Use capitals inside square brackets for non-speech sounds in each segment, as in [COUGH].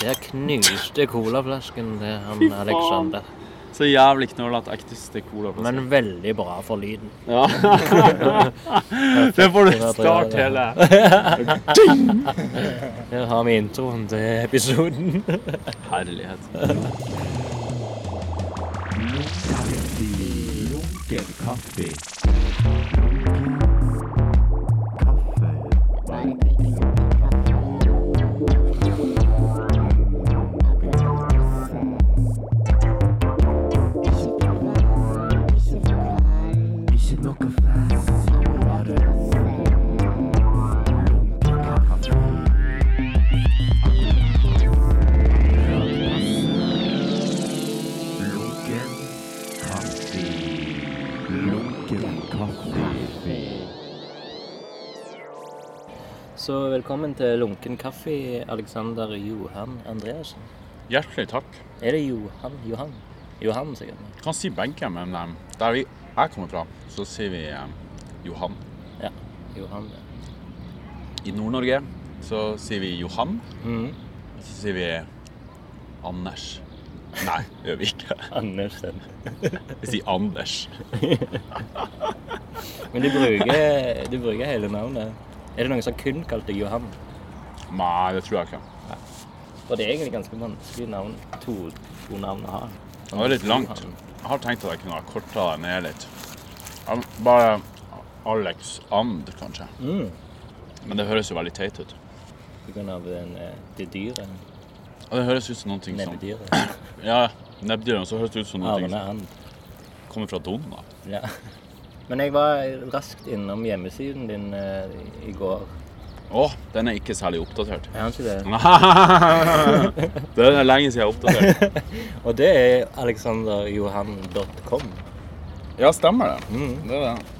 Der knuste colaflasken til han Alexander. Så jævlig knålete aktiske cola. på seg. Men veldig bra for lyden. Ja. det får du start hele. Her har vi introen til episoden. Herlighet. Lunken kaffe. Ikke noe fast, bare lunken kaffe. Lunken kaffe. Lunken kaffe. [LAUGHS] Så velkommen til Lunken kaffe, Alexander Johan Andreassen. Hjertelig takk. Er det Johan? Johan? Johan, sikkert. Kan si begge, men eh, der vi, jeg kommer fra, så sier vi eh, Johan. Ja. Johan, ja. I Nord-Norge så sier vi Johan. Mhm. Så sier vi Anders. Nei, det gjør vi ikke. Andersen. Vi sier Anders. Men du bruker, du bruker hele navnet. Er det noen som kun kalte deg Johan? Nei, det tror jeg ikke. For det er egentlig ganske vanskelig navn, to, to navn å ha. Det var litt langt. Jeg har tenkt at jeg kunne ha korta det ned litt. Al- Bare Alex And, kanskje. Mm. Men det høres jo veldig teit ut. På grunn av den, eh, det dyret. Og det høres ut som noen ting som Nebbedyret. Ja, nebbdyrene. Så høres det ut som noen ting Arne som and. kommer fra Donald. Ja. [LAUGHS] Men jeg var raskt innom hjemmesiden din eh, i går. Å, den er ikke særlig oppdatert. [LAUGHS] Er han ikke det? den er lenge siden jeg har oppdatert. Og det er alexanderjohan.com. Ja, stemmer det. Mm. Det er det.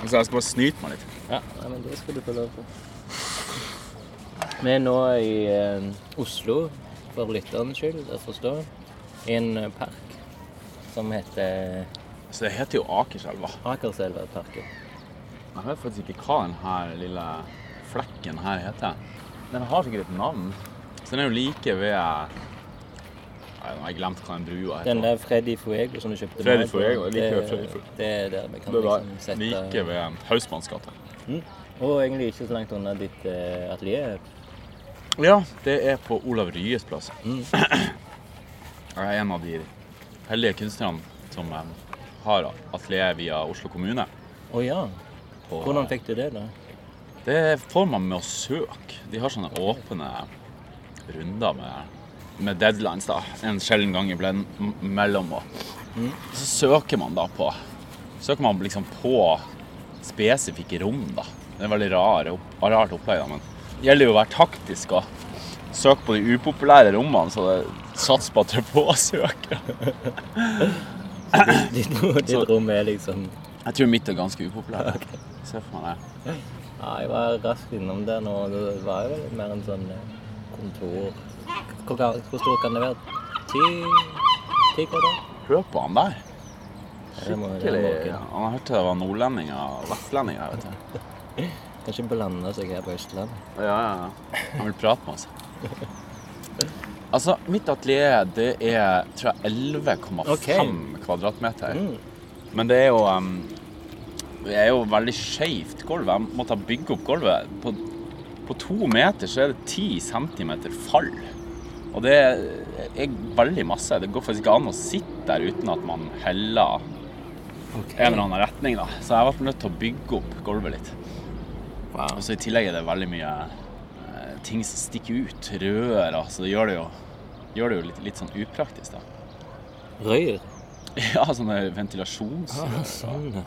Altså, jeg skal bare snyte meg litt. Ja. ja, men det skal du få lov til. Vi er nå i eh, Oslo, for lytterens skyld, jeg forstår, i en eh, park som heter Så det heter jo Akerselva. Akerselvaparken. Jeg vet faktisk ikke hva denne lille flekken her heter. Den har sikkert et navn. Så den er jo like ved Nei, nå har jeg glemt hva den brua heter. Den der Freddy Fuego som du kjøpte Freddy meg på, Fuego, jeg liker det- Freddy Fuego. Det er der vi kan Det er liksom der, sette like ved Hausmannsgata. Mm. Og egentlig ikke så langt unna ditt eh, atelier. Ja, det er på Olav Ryes plass. [CLEARS THROAT] Mm. Jeg er en av de heldige kunstnerne som eh, har atelier via Oslo kommune. Å ja. på- Hvordan fikk du det, da? Det får man med å søke. De har sånne åpne runder med, med deadlines da, en sjelden gang iblant mellom. Og. Så søker man da på Søker man liksom på spesifikke rom, da. Det er veldig rar, opp, rart opplegg, da, men det gjelder jo å være taktisk og søke på de upopulære rommene, så det sats på at det er påsøkere. [LAUGHS] Ditt, ditt Så- rom er liksom Jeg tror mitt er ganske upopulært. Se for meg det. Ja, jeg var raskt innom der nå. og Det var jo litt mer en sånn eh, kontor Hvor, ga- hvor stor kan det være? Ti? Ti kvadrat? Hør på han der. Ja, det må- det må Skikkelig. ikke. Han hørte det var nordlendinger og vestlendinger, vet du. Kan ikke blande seg her på Østlandet. Ja, ja, ja. Han vil prate med oss. Altså, mitt atelier det er tror jeg 11,5 Ok. kvadratmeter. Mm. Men det er jo em, Det er jo veldig skeivt gulv. Jeg måtte bygge opp gulvet. På, på to meter så er det 10 centimeter fall. Og det er, er veldig masse. Det går faktisk ikke an å sitte der uten at man heller en eller annen retning, da. Så jeg ble nødt til å bygge opp gulvet litt. Og Wow. så I tillegg er det veldig mye eh, ting som stikker ut. Rør, altså. Det gjør det jo, gjør det jo litt, litt sånn upraktisk, da. [LAUGHS] Røyr. Ja, sånne ventilasjonsrør. Ah, sånn. ja.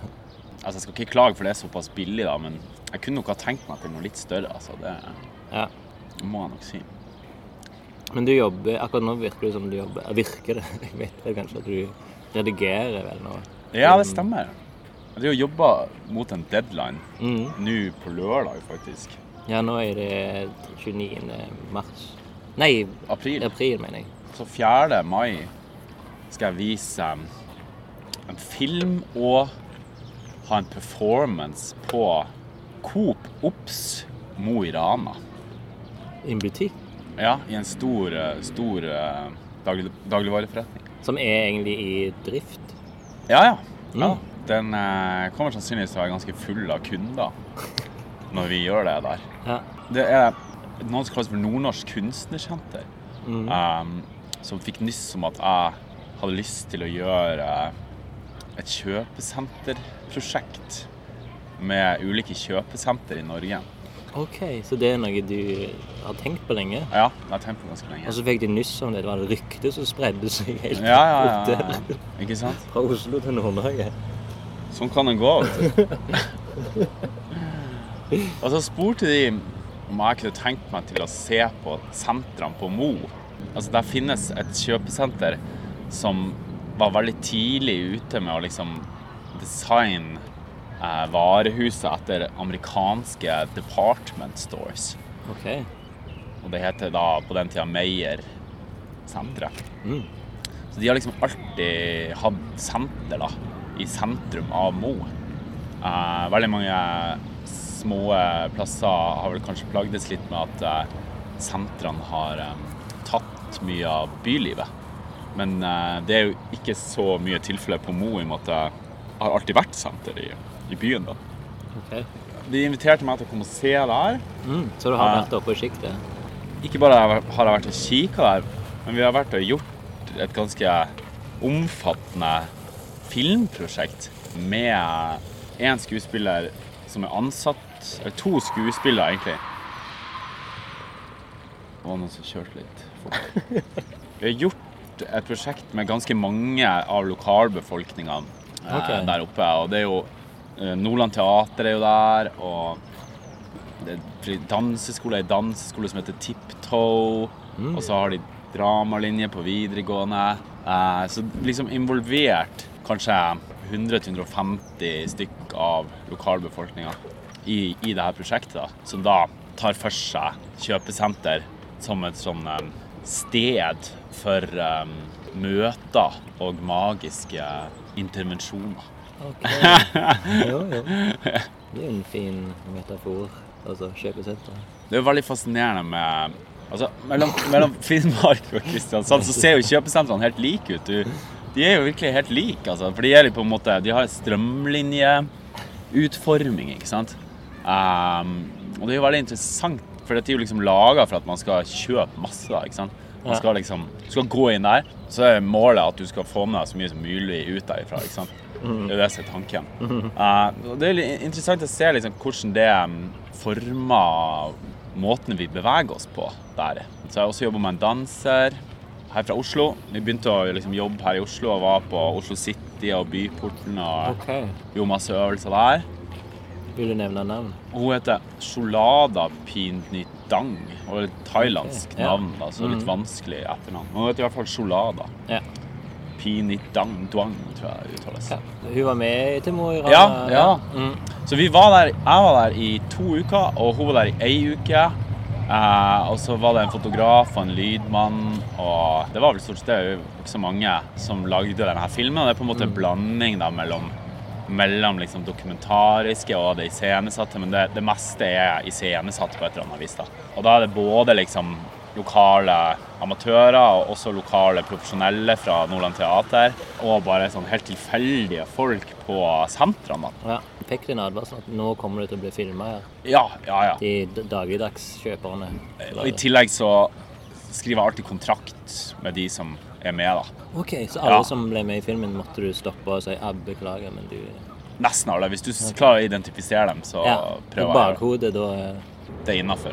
Altså, Jeg skal ikke klage, for det er såpass billig, da, men jeg kunne nok ha tenkt meg til noe litt større. altså. Det Ja. må jeg nok si. Men du jobber Akkurat nå virker det som du jobber ja, Virker det? [LAUGHS] Jeg vet vel kanskje at du redigerer vel nå? Ja, det stemmer. Jeg driver og jobber mot en deadline Mm. nå på lørdag, faktisk. Ja, nå er det 29. mars. Nei, April. april, mener jeg. Så 4. mai skal jeg vise um, en film og ha en performance på Coop Ops Mo i Rana. I en butikk? Ja, i en stor, eh, stor eh, daglig, dagligvareforretning. Som er egentlig i drift. Ja, ja. ja. Mm. Den eh, kommer sannsynligvis til å være ganske full av kunder når vi gjør det der. Ja. Det er noe som kalles for Nordnorsk kunstnersenter. Um, som fikk nyss om at jeg hadde lyst til å gjøre et kjøpesenterprosjekt med ulike kjøpesenter i Norge. OK, så det er noe du har tenkt på lenge? Ja, jeg har tenkt på det ganske lenge. Og så fikk de nyss om det. Det var et rykte som spredde seg helt ja, ja, ja, opp der. ja. Ikke sant? Fra Oslo til Nord-Norge. Sånn kan det gå. Vet du. og så spurte de om jeg kunne tenkt meg til å se på sentrene på Mo. Altså, der finnes et kjøpesenter som var veldig tidlig ute med å liksom designe eh, varehuset etter amerikanske department stores. OK. Og det heter da på den tida Meyer-senteret. Mm. Så de har liksom alltid hatt senter da, i sentrum av Mo. Eh, veldig mange små eh, plasser har vel kanskje plagdes litt med at eh, sentrene har eh, tatt mye av bylivet. Men eh, det er jo ikke så mye tilfelle på Mo i og med at det har alltid vært senter i, i byen. da. ok. De inviterte meg til å komme og se det her. Mm. Så du har Ja. vært oppe og sjiktet? Ikke bare har jeg vært og kikka der, men vi har vært og gjort et ganske omfattende filmprosjekt med én skuespiller som er ansatt Eller to skuespillere, egentlig. Det var noen som kjørte litt fort. Vi har gjort et prosjekt med ganske mange av lokalbefolkninga eh, Ok. der oppe. Og det er jo eh, Nordland Teater er jo der, og det er fri- danseskole er en danseskole som heter Tiptoe. Og så har de dramalinje på videregående. Eh, så liksom involvert kanskje 100-150 stykk av lokalbefolkninga i, i det her prosjektet, da, som da tar for seg kjøpesenter som et sånn eh, sted for eh, møter og magiske intervensjoner. [LAUGHS] OK. Jo, jo. Det er jo en fin metafor. Altså kjøpesenter. Det er jo veldig fascinerende med Altså, mellom, mellom Finnmark og Kristiansand så ser jo kjøpesentrene helt like ut. Du, de er jo virkelig helt like, altså. For de er jo på en måte De har en strømlinjeutforming, ikke sant. Ehm, og det er jo veldig interessant, for dette er jo liksom laga for at man skal kjøpe masse, da, ikke sant. Man Ja. skal liksom Du skal gå inn der, så er målet at du skal få med deg så mye som mulig ut derifra, ikke sant. Det er jo det som er tanken. Eh, og det er litt interessant å se liksom, hvordan det mm, former måten vi beveger oss på der. Så jeg har også jobba med en danser her fra Oslo. Vi begynte å liksom, jobbe her i Oslo og var på Oslo City og Byporten og OK. gjorde masse øvelser der. Vil du nevne navn? Hun heter Sholada Pinitang. Og det er et thailandsk Ok, ja. Mm. navn, da, så litt vanskelig etternavn. Men Hun heter i hvert fall Sholada. Ja. Pinitang Duang, tror jeg det uttales. ja. Hun var med til Mo i Rana? Ja, ja. Mm. Så vi var der, jeg var der i to uker, og hun var der i ei uke. Eh, og så var det en fotograf og en lydmann, og det var vel stort sett det er jo ikke så mange som lagde denne filmen. Og det er på en måte en blanding da, mellom, mellom liksom, dokumentariske og det iscenesatte, men det, det meste er iscenesatt på et eller annet vis. da. Og da er det både liksom lokale amatører og også lokale profesjonelle fra Nordland Teater, og bare sånn helt tilfeldige folk på sentrene. da. ja. Fikk du en advarsel at nå kommer du til å bli filma her? Ja, ja, ja. De d- dagligdagskjøperne? Og i tillegg så skriver jeg alltid kontrakt med de som er med, da. OK, så alle Ja. som ble med i filmen, måtte du stoppe og si ah, 'beklager, men du Nesten alle. Hvis du s- klarer å identifisere dem, så Ja. I prøver jeg bakhodet, da eh, det innafor.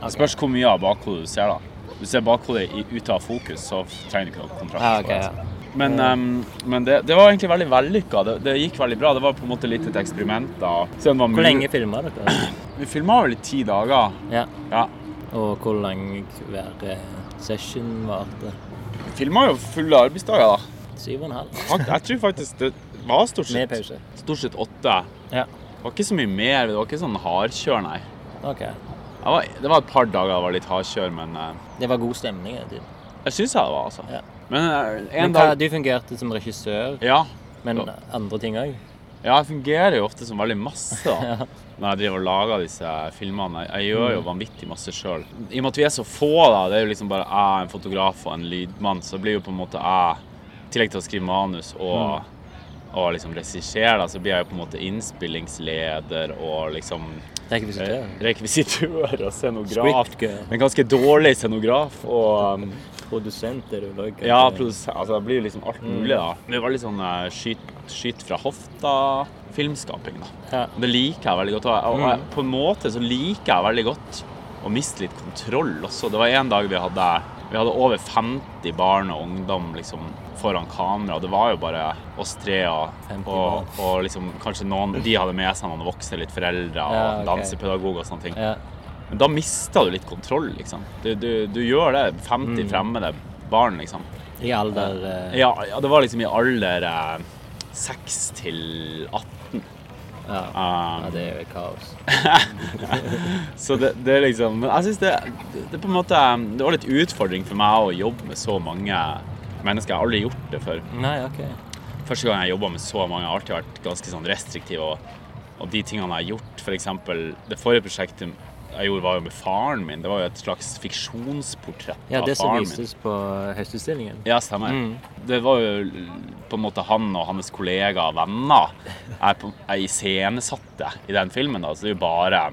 Det spørs hvor mye av bakhodet du ser, da. Hvis du ser bakhodet i- ute av fokus, så trenger du ikke noen kontrakt. Ja, ok, på det. ja. Men, ehm, men det, det var egentlig veldig vellykka. Det, det gikk veldig bra. Det var på en måte litt et eksperiment. da. Så det var Hvor mul- lenge filma dere? [CLEARS THROAT] Vi filma vel i ti dager. Ja. Ja. Og hvor lang hver eh, session varte? Vi filma jo fulle arbeidsdager, da. Syv og en halv. Fakt- Jeg tror faktisk det var stort Med sett, pause. stort sett åtte. Ja. Det var ikke så mye mer. Det var ikke sånn hardkjør, nei. OK. Jeg var, det var et par dager det var litt hardkjør, men eh, Det var god stemning. i det. jeg syns jeg det var, altså. Ja. Men eh, Men en hva, dag du fungerte som regissør, Ja. men Ja. andre ting òg? Ja, jeg fungerer jo ofte som veldig [LAUGHS] masse da, når jeg driver og lager disse filmene. Jeg, jeg Mm. gjør jo vanvittig masse sjøl. I og med at vi er så få, da, det er jo liksom bare jeg, en fotograf og en lydmann, så blir jo på en måte jeg, i tillegg til å skrive manus Mm. og, og liksom regissere, da, så blir jeg jo på en måte innspillingsleder og liksom Rekvisitør. eh, rekvisitør og scenograf. Script girl. En ganske dårlig scenograf og um, Produsent er du da. kanskje. ja, produsent. Altså, det blir jo liksom alt mulig, da. Mm. Det er veldig sånn eh, skyt, skyt fra hofta-filmskaping, da. Ja. Mm. Det liker jeg veldig godt. Og jeg, og jeg, på en måte så liker jeg veldig godt å miste litt kontroll også. Det var en dag vi hadde, vi hadde over 50 barn og ungdom liksom, foran kamera. og Det var jo bare oss tre og, 50 og, og liksom, kanskje noen De hadde med seg noen voksne, litt foreldre og Ja, ok. dansepedagog og sånne ting. Ja. Men da mister du litt kontroll, liksom. Du, du, du gjør det. 50 Mm. fremmede barn, liksom. I alder eh, Ja, ja, det var liksom i alder eh, 6 til 18. ja. Um, ja, det er jo kaos. Så det, det er liksom Men jeg syns det, det er på en måte eh, Det var litt utfordring for meg å jobbe med så mange mennesker. Jeg har aldri gjort det før. Nei, OK. Første gang jeg jobba med så mange, jeg har alltid vært ganske sånn restriktiv. Og, og de tingene jeg har gjort, f.eks. det forrige prosjektet jeg gjorde, var jo med faren min. Det var jo et slags fiksjonsportrett Ja, av det som faren min. vises på eh, Høstutstillingen. Ja, stemmer. Mm. Det var jo på en måte han og hans kollegaer og venner jeg, på- jeg iscenesatte i den filmen. da, Så det er jo bare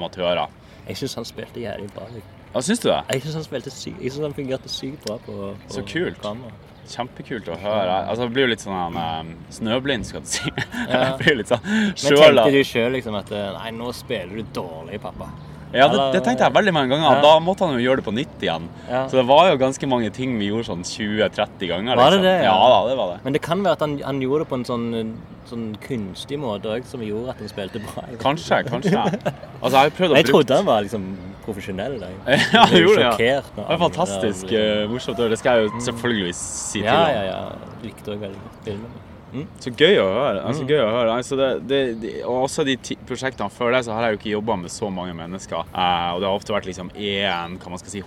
amatører. Jeg syns han spilte jævlig bra. jeg. Ja, syns du det? Jeg syns han spilte sykt Jeg synes han fungerte sykt bra på, på Så kult. kamera. Kjempekult å høre. Altså, jeg blir jo litt sånn um, snøblind, skal du si. [LAUGHS] Jeg Ja. blir litt sånn Men sjøl. tenkte du sjøl liksom at eh, Nei, nå spiller du dårlig, pappa. Ja, det, det tenkte jeg veldig mange ganger. Ja. Da måtte han jo gjøre det på nytt igjen. Ja. Så det var jo ganske mange ting vi gjorde sånn 20-30 ganger. Var det liksom. det, ja? Ja. da, det var det. Men det kan være at han, han gjorde det på en sånn, sånn kunstig måte òg, som gjorde at han spilte bra. Jeg vet ikke. Kanskje, kanskje. [LAUGHS] Altså, jeg har jo prøvd å Men jeg bruke trodde han var liksom profesjonell. da. Jeg [LAUGHS] Ja, ble jeg jo gjorde det. Ja. sjokkert når Det var han- fantastisk Ja, eh, morsomt. og Det skal jeg jo selvfølgelig si Mm. til. ja, han. ja. ja. Likte òg veldig godt filmen. Så gøy å høre. Altså, Mm. gøy å høre. Altså, det, det, det, og også de ti prosjektene før det, så har jeg jo ikke jobba med så mange mennesker. Eh, og det har ofte vært liksom én hva man skal si,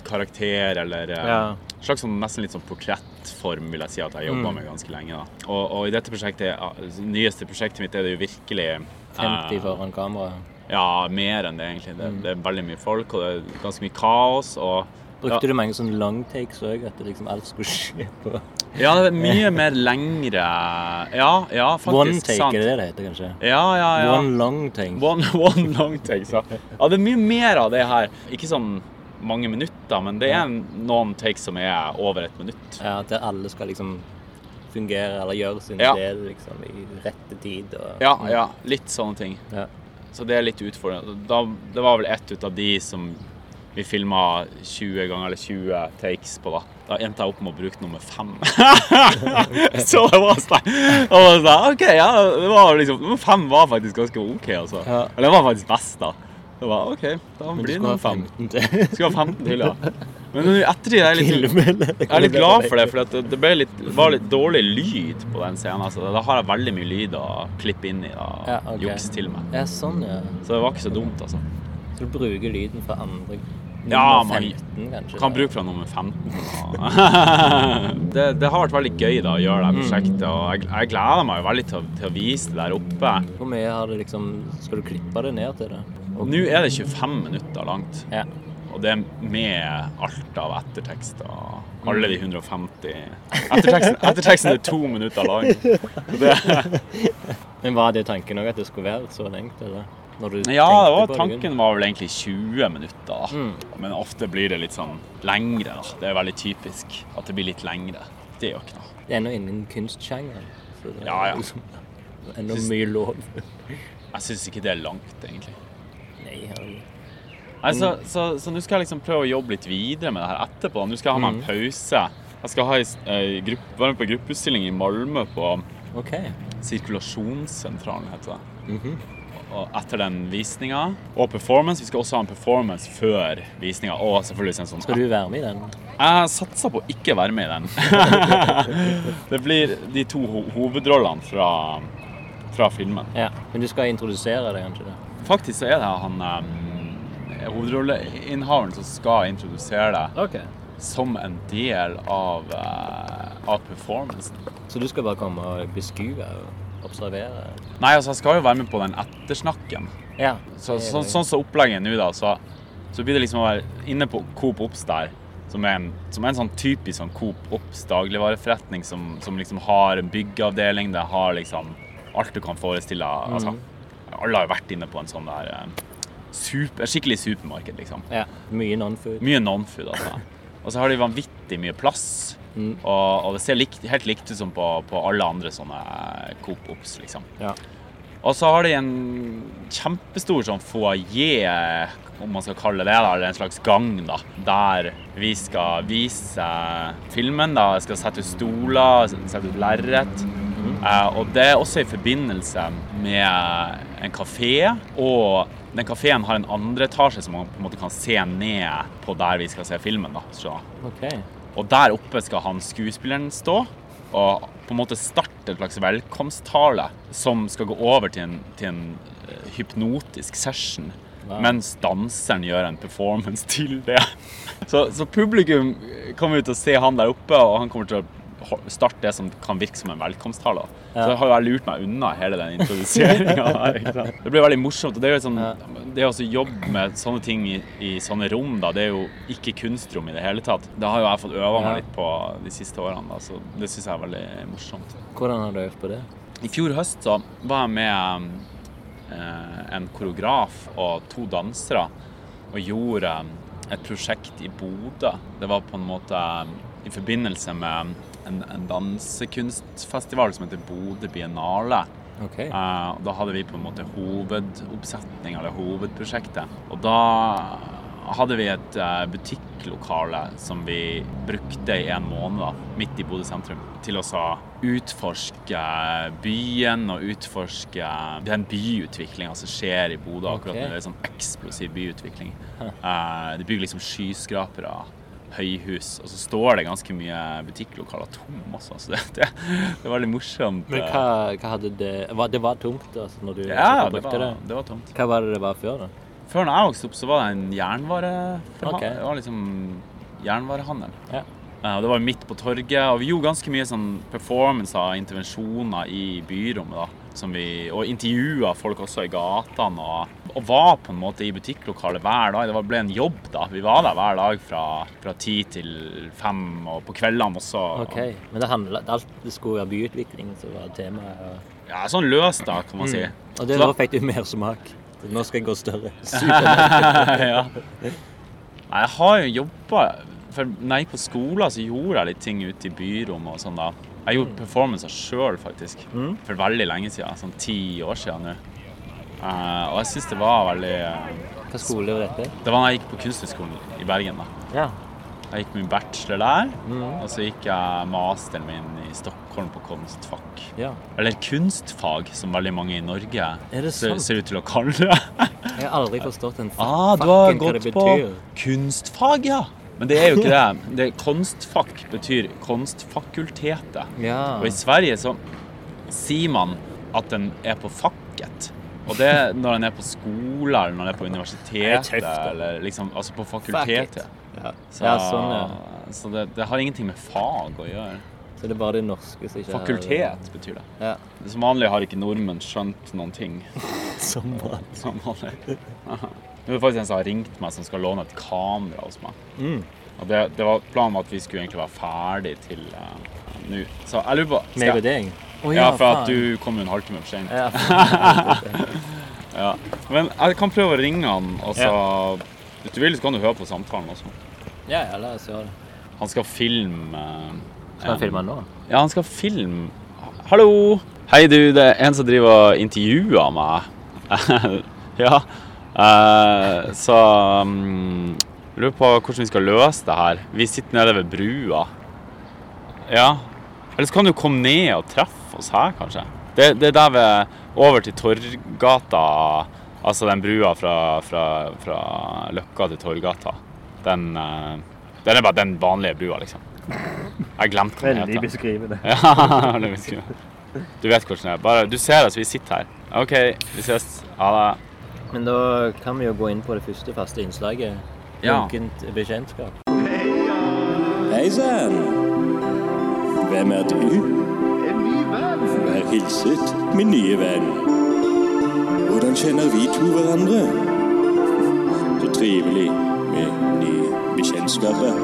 hovedkarakter, eller eh, Ja. slags sånn, nesten litt sånn portrettform, vil jeg si at jeg har Mm. jobba med ganske lenge. da. Og, og i dette prosjektet, ja, altså, nyeste prosjektet mitt er det jo virkelig eh, 50 foran kamera. Ja, mer enn det, egentlig. Det, Mm. det er veldig mye folk, og det er ganske mye kaos. og... Brukte du mange sånne long takes òg? At det liksom alt skulle [LAUGHS] skje på Ja, det er mye mer lengre Ja, ja, faktisk. One take, sant. er det det det heter kanskje? Ja, ja, ja. One long take. One, [LAUGHS] one long take, så. Ja, det er mye mer av det her. Ikke sånn mange minutter, men det er noen takes som er over et minutt. Ja, Der alle skal liksom fungere eller gjøre sin Ja. del liksom i rette tid. Og, Ja, ja, Mm. litt sånne ting. Ja. Så det er litt utfordrende. Da, det var vel ett ut av de som vi filma 20 ganger eller 20 takes på, da. Da endte jeg opp med å bruke nummer fem. [LAUGHS] så det var sånn det var sånn, OK, ja, det var liksom Nummer fem var faktisk ganske OK, altså. Ja. Eller det var faktisk best, da. Det var OK, da Men du blir det skal ha nummer fem. 15 til. Skulle ha 15 til, ja. Men nå i ettertid er jeg [LAUGHS] litt, Filmen. jeg er litt glad for det, for at det- det ble litt, det var litt dårlig lyd på den scenen. Altså. Da har jeg veldig mye lyd å klippe inn i og Ja, ok. jukse til meg. Ja, sånn, ja. Så det var ikke så dumt, altså. Så du bruker lyden fra andre Ja, nummer man- 15, kanskje? Kan da. bruke fra nummer 15. [LAUGHS] og- det, det har vært veldig gøy da, å gjøre Mm. det prosjektet, og jeg, jeg gleder meg jo veldig til, å- til å vise det der oppe. Hvor mye har det liksom Skal du klippe det ned til det? Og- Nå er det 25 minutter langt, Ja. og det er med alt av ettertekst og alle de 150 [LAUGHS] Etterteksten, etterteksten er to minutter lang. Så det Men var det tanken òg, at det skulle være så lengt? Eller? Når du Ja, det tenkte var, på det? tanken var vel egentlig 20 minutter. da. Mm. Men ofte blir det litt sånn lengre. da. Det er veldig typisk at det blir litt lengre. Det er jo ikke noe. Det er ennå innen kunstsjangeren. så det er Ja, [LAUGHS] ja. liksom Ennå mye lov. Jeg syns ikke det er langt, egentlig. Nei, herregud. Nei, så, så, så nå skal jeg liksom prøve å jobbe litt videre med det her etterpå. Nå skal jeg ha meg en Mm. pause. Jeg skal ha ei, s- ei grupp, være med på gruppeutstilling i Malmö på OK. Sirkulasjonssentralen, heter det. Mhm. Og etter den visninga. Og performance. Vi skal også ha en performance før visninga. Og selvfølgelig en sånn Skal du være med i den? Jeg satser på å ikke være med i den. [LAUGHS] det blir de to ho hovedrollene fra, fra filmen. Ja. Men du skal introdusere det, kanskje? det? Faktisk så er det han eh, hovedrolleinnehaveren som skal introdusere det OK. som en del av, eh, av performancen. Så du skal bare komme og beskue og, observere. Nei, altså, jeg skal jo være med på den ettersnakken. Ja. Så, det er så, gøy. sånn som opplegget er nå, da, så, så blir det liksom å være inne på Coop Ops der, som er en, som er en sånn typisk sånn Coop Ops dagligvareforretning som, som liksom har en byggeavdeling, det har liksom alt du kan forestille deg. Mm. Altså, alle har jo vært inne på en sånn der eh, super, skikkelig supermarked, liksom. ja. Mye non-food. Mye non-food, altså. Og så har de vanvittig mye plass, og, og det ser likt, helt likt ut som på, på alle andre sånne Coop Ops, liksom. Ja. Og så har de en kjempestor sånn foyer, om man skal kalle det det, da, eller en slags gang, da, der vi skal vise filmen. da, Jeg skal sette ut stoler, sette ut lerret. Eh, og det er også i forbindelse med en kafé. Og den kafeen har en andre etasje som man på en måte kan se ned på der vi skal se filmen. da, skjønner du? OK. Og der oppe skal han skuespilleren stå og på en måte starte en slags velkomsttale som skal gå over til en, til en eh, hypnotisk session. Wow. Mens danseren gjør en performance til det. [LAUGHS] Så, så publikum kommer ut og ser han der oppe, og han kommer til å ho- starte det som kan virke som en velkomsttale. da. Så Ja. jeg har jo jeg lurt meg unna hele den introduseringa her. ikke sant? Det blir veldig morsomt. og Det er jo sånn, det å også jobbe med sånne ting i, i sånne rom, da, det er jo ikke kunstrom i det hele tatt. Det har jo jeg fått Ja. øva meg litt på de siste årene, da, så det syns jeg er veldig morsomt. Hvordan har du øvd på det? I fjor høst så var jeg med eh, en koreograf og to dansere og gjorde eh, et prosjekt i Bodø. Det var på en måte eh, i forbindelse med en, en dansekunstfestival som heter Bodø Biennale. OK. Eh, og da hadde vi på en måte hovedoppsetning, eller hovedprosjektet. Og da hadde vi et eh, butikklokale som vi brukte i en måned, da, midt i Bodø sentrum, til å så utforske byen og utforske den byutviklinga som skjer i Bodø akkurat nå. Ok. Det er sånn eksplosiv [LAUGHS] byutvikling. Eh, de bygger liksom skyskrapere. Høyhus, og så står det ganske mye butikklokaler tom også, så [LAUGHS] det, det, det er veldig morsomt. Men eh, hva, hva hadde det var, Det var tungt altså, når du ja, det brukte var, det? det var tomt. Hva var det det var før, da? Før når jeg vokste opp, så var det en jernvare... Ok. Det var liksom jernvarehandel. Ja. Eh, og Det var midt på torget, og vi gjorde ganske mye sånn performancer og intervensjoner i byrommet. da, som vi, Og intervjua folk også i gatene. Og, og var på en måte i butikklokalet hver dag. Det var, ble en jobb, da. Vi var der hver dag fra, fra ti til fem, og på kveldene også. OK. Men det handlet, alt det skulle være byutvikling som var temaet. Og, Ja, sånn løs, da, kan man si. og det, Så da- nå fikk du mersmak. Nå skal jeg gå [LAUGHS] større. ja. Nei, jeg har jo jobba For når jeg gikk på skolen, så gjorde jeg litt ting ute i byrommet og sånn, da. Jeg Mm. gjorde performancer sjøl, faktisk. For veldig lenge siden. Sånn ti år siden nå. Eh, og jeg syns det var veldig eh, Hva skole var dette? Det var da jeg gikk på Kunsthøgskolen i Bergen, da. Ja. Jeg gikk min bachelor der, Mm. og så gikk jeg masteren min i Stockholm på kunstfag. ja. Eller kunstfag, som veldig mange i Norge Er det ser, sant? ser ut til å kalle det. Jeg har aldri forstått en fa- Ah, du har fucken hva det gått på betyr. kunstfag, ja. Men det er jo ikke det. det kunstfak betyr kunstfakultetet. Ja. Og i Sverige så sier man at den er på fakket. Og det er når den er på skole, eller når den er på universitetet, tøft, da. eller liksom, altså på Fuck it. fakultetet. Ja. Så, ja, sånn, ja. så det, det har ingenting med fag å gjøre. Så det er bare det norske som ikke er- Fakultet betyr det. Ja. Som vanlig har ikke nordmenn skjønt noen ting. Som var Som vanlig. [LAUGHS] Nå er det faktisk en som har ringt meg, som skal låne et kamera hos meg. Mm. Og det, det var planen var at vi skulle egentlig være ferdig til eh, nå. Så jeg lurer på skal Meg og jeg- deg? Å Ja, for at du kom jo en halvtime for sent. Ja, [LAUGHS] Ja. Men jeg kan prøve å ringe han, og så Hvis du vil, så kan du høre på samtalen også. ja, ja, la oss gjøre det. Han skal filme eh, Skal en- vi filme nå? Ja, han skal filme Hallo! Hei, du, det er en som driver og intervjuer meg. [LAUGHS] ja. eh, så mm, jeg Lurer på hvordan vi skal løse det her. Vi sitter nede ved brua. Ja. Eller så kan du komme ned og treffe oss her, kanskje. Det, det er der ved Over til Torggata. Altså den brua fra, fra, fra Løkka til Torggata. Den, eh, den er bare den vanlige brua, liksom. Jeg glemte hva den heter. beskrivende. [LAUGHS] Ja, det visste jeg. Du vet hvordan det er. Bare, du ser oss, vi sitter her. OK, vi ses. Ha det. Men da kan vi jo gå inn på det første faste innslaget. Ja. Lunkent bekjentskap. Hei sann! Hvem er du? En ny venn. hilset min nye venn. Hvordan kjenner vi to hverandre? Så trivelig med nye bekjentskaper.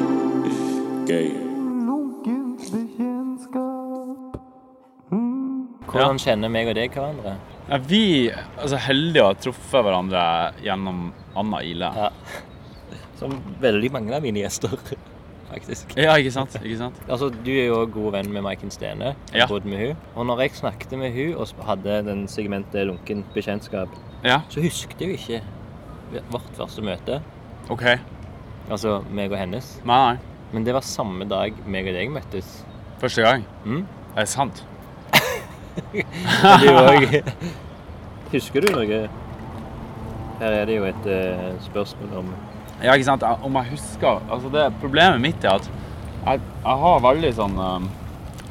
[LAUGHS] Gøy. Hvordan kjenner meg og deg hverandre? Ja, vi er altså, heldige å ha truffet hverandre gjennom Anna Ile. Ja. Som veldig mange av mine gjester, [LAUGHS] faktisk. Ja, ikke sant? Ikke sant? Altså, Du er jo også god venn med Maiken Stene. Jeg Ja. har bodd med hun. Og når jeg snakket med hun og sp- hadde den segmentet lunken bekjentskap, Ja, så husket jeg jo ikke vårt første møte. OK. Altså meg og hennes. Nei, nei. Men det var samme dag meg og deg møttes. [LAUGHS] Første gang. Mm. Er det sant? Men det er jo også- [LAUGHS] Husker du noe? Her er det jo et eh, spørsmål om Ja, ikke sant? Jeg- Om jeg husker altså det, Problemet mitt er at jeg, jeg har veldig sånn um,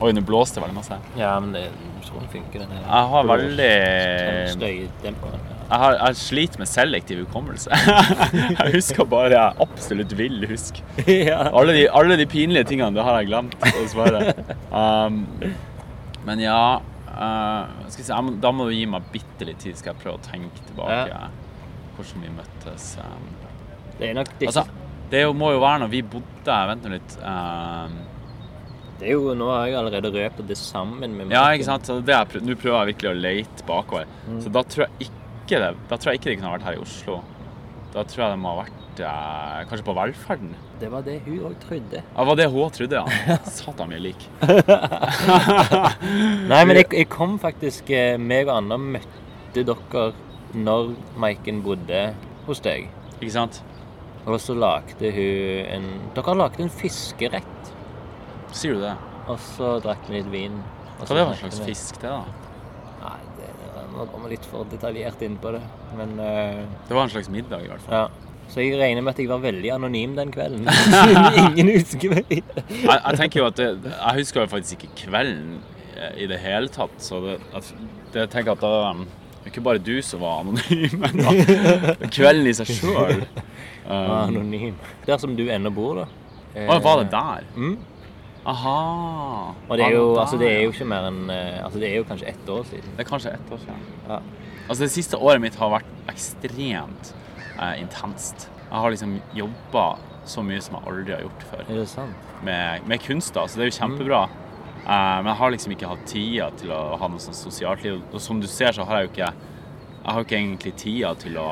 Oi, nå blåste det veldig masse. Ja, men det, sånn funker den her. Jeg har veldig Jeg, Støydemperen. ja. har, jeg sliter med selektiv hukommelse. [LAUGHS] jeg husker bare det jeg absolutt vil huske. [LAUGHS] ja. Alle de, alle de pinlige tingene, det har jeg glemt, dessverre. Um, men ja eh, skal vi se, jeg må, Da må du gi meg bitte litt tid, skal jeg prøve å tenke tilbake eh, Ja. hvordan vi møttes. Um, Det er nok det, altså, det er jo- må jo være når vi bodde Vent nå litt. Um, det er jo, Nå har jeg allerede røpt det sammen med ja, Martin. ikke sant? Så det er, nå prøver jeg virkelig å leite bakover. Så da tror, jeg ikke det, da tror jeg ikke det kunne ha vært her i Oslo. Da tror jeg det må ha vært eh, kanskje på velferden. Det var det hun òg trodde. Ja, var det hun trodde, ja. Satan, vi er like. Nei, men jeg, jeg kom faktisk eh, Meg og Anna møtte dere når Maiken bodde hos deg. Ikke sant? Og så lagde hun en Dere lagde en fiskerett. Sier du det? Og så drakk vi litt vin. og så Hva det var snakket slags vi. fisk, det da? Nei, det, nå går vi litt for detaljert inn på det. Men eh, Det var en slags middag, i [LAUGHS] hvert fall. ja. Så jeg regner med at jeg var veldig anonym den [LAUGHS] kvelden. Ingen husker meg. Jeg, jeg tenker jo at det, Jeg husker jo faktisk ikke kvelden eh, i det hele tatt, så det, at, det jeg tenker at da um, det er ikke bare du som var anonym, [LAUGHS] men da, kvelden i seg sjøl. var [LAUGHS] Um, anonym. Der som du ennå bor, da. Eh, å, var det der? Mm. Aha. Og det er, jo, var altså, det der, er ja. jo ikke mer enn eh, Altså, det er jo kanskje ett år siden. Det er kanskje ett år siden. Ja. Altså, det siste året mitt har vært ekstremt eh, intenst. Jeg har liksom jobba så mye som jeg aldri har gjort før. Er det sant? med, med kunst, da, så det er jo Mm. kjempebra. Eh, men jeg har liksom ikke hatt tida til å ha noe sånn sosialt liv. Og som du ser, så har jeg jo ikke Jeg har jo ikke egentlig tida til å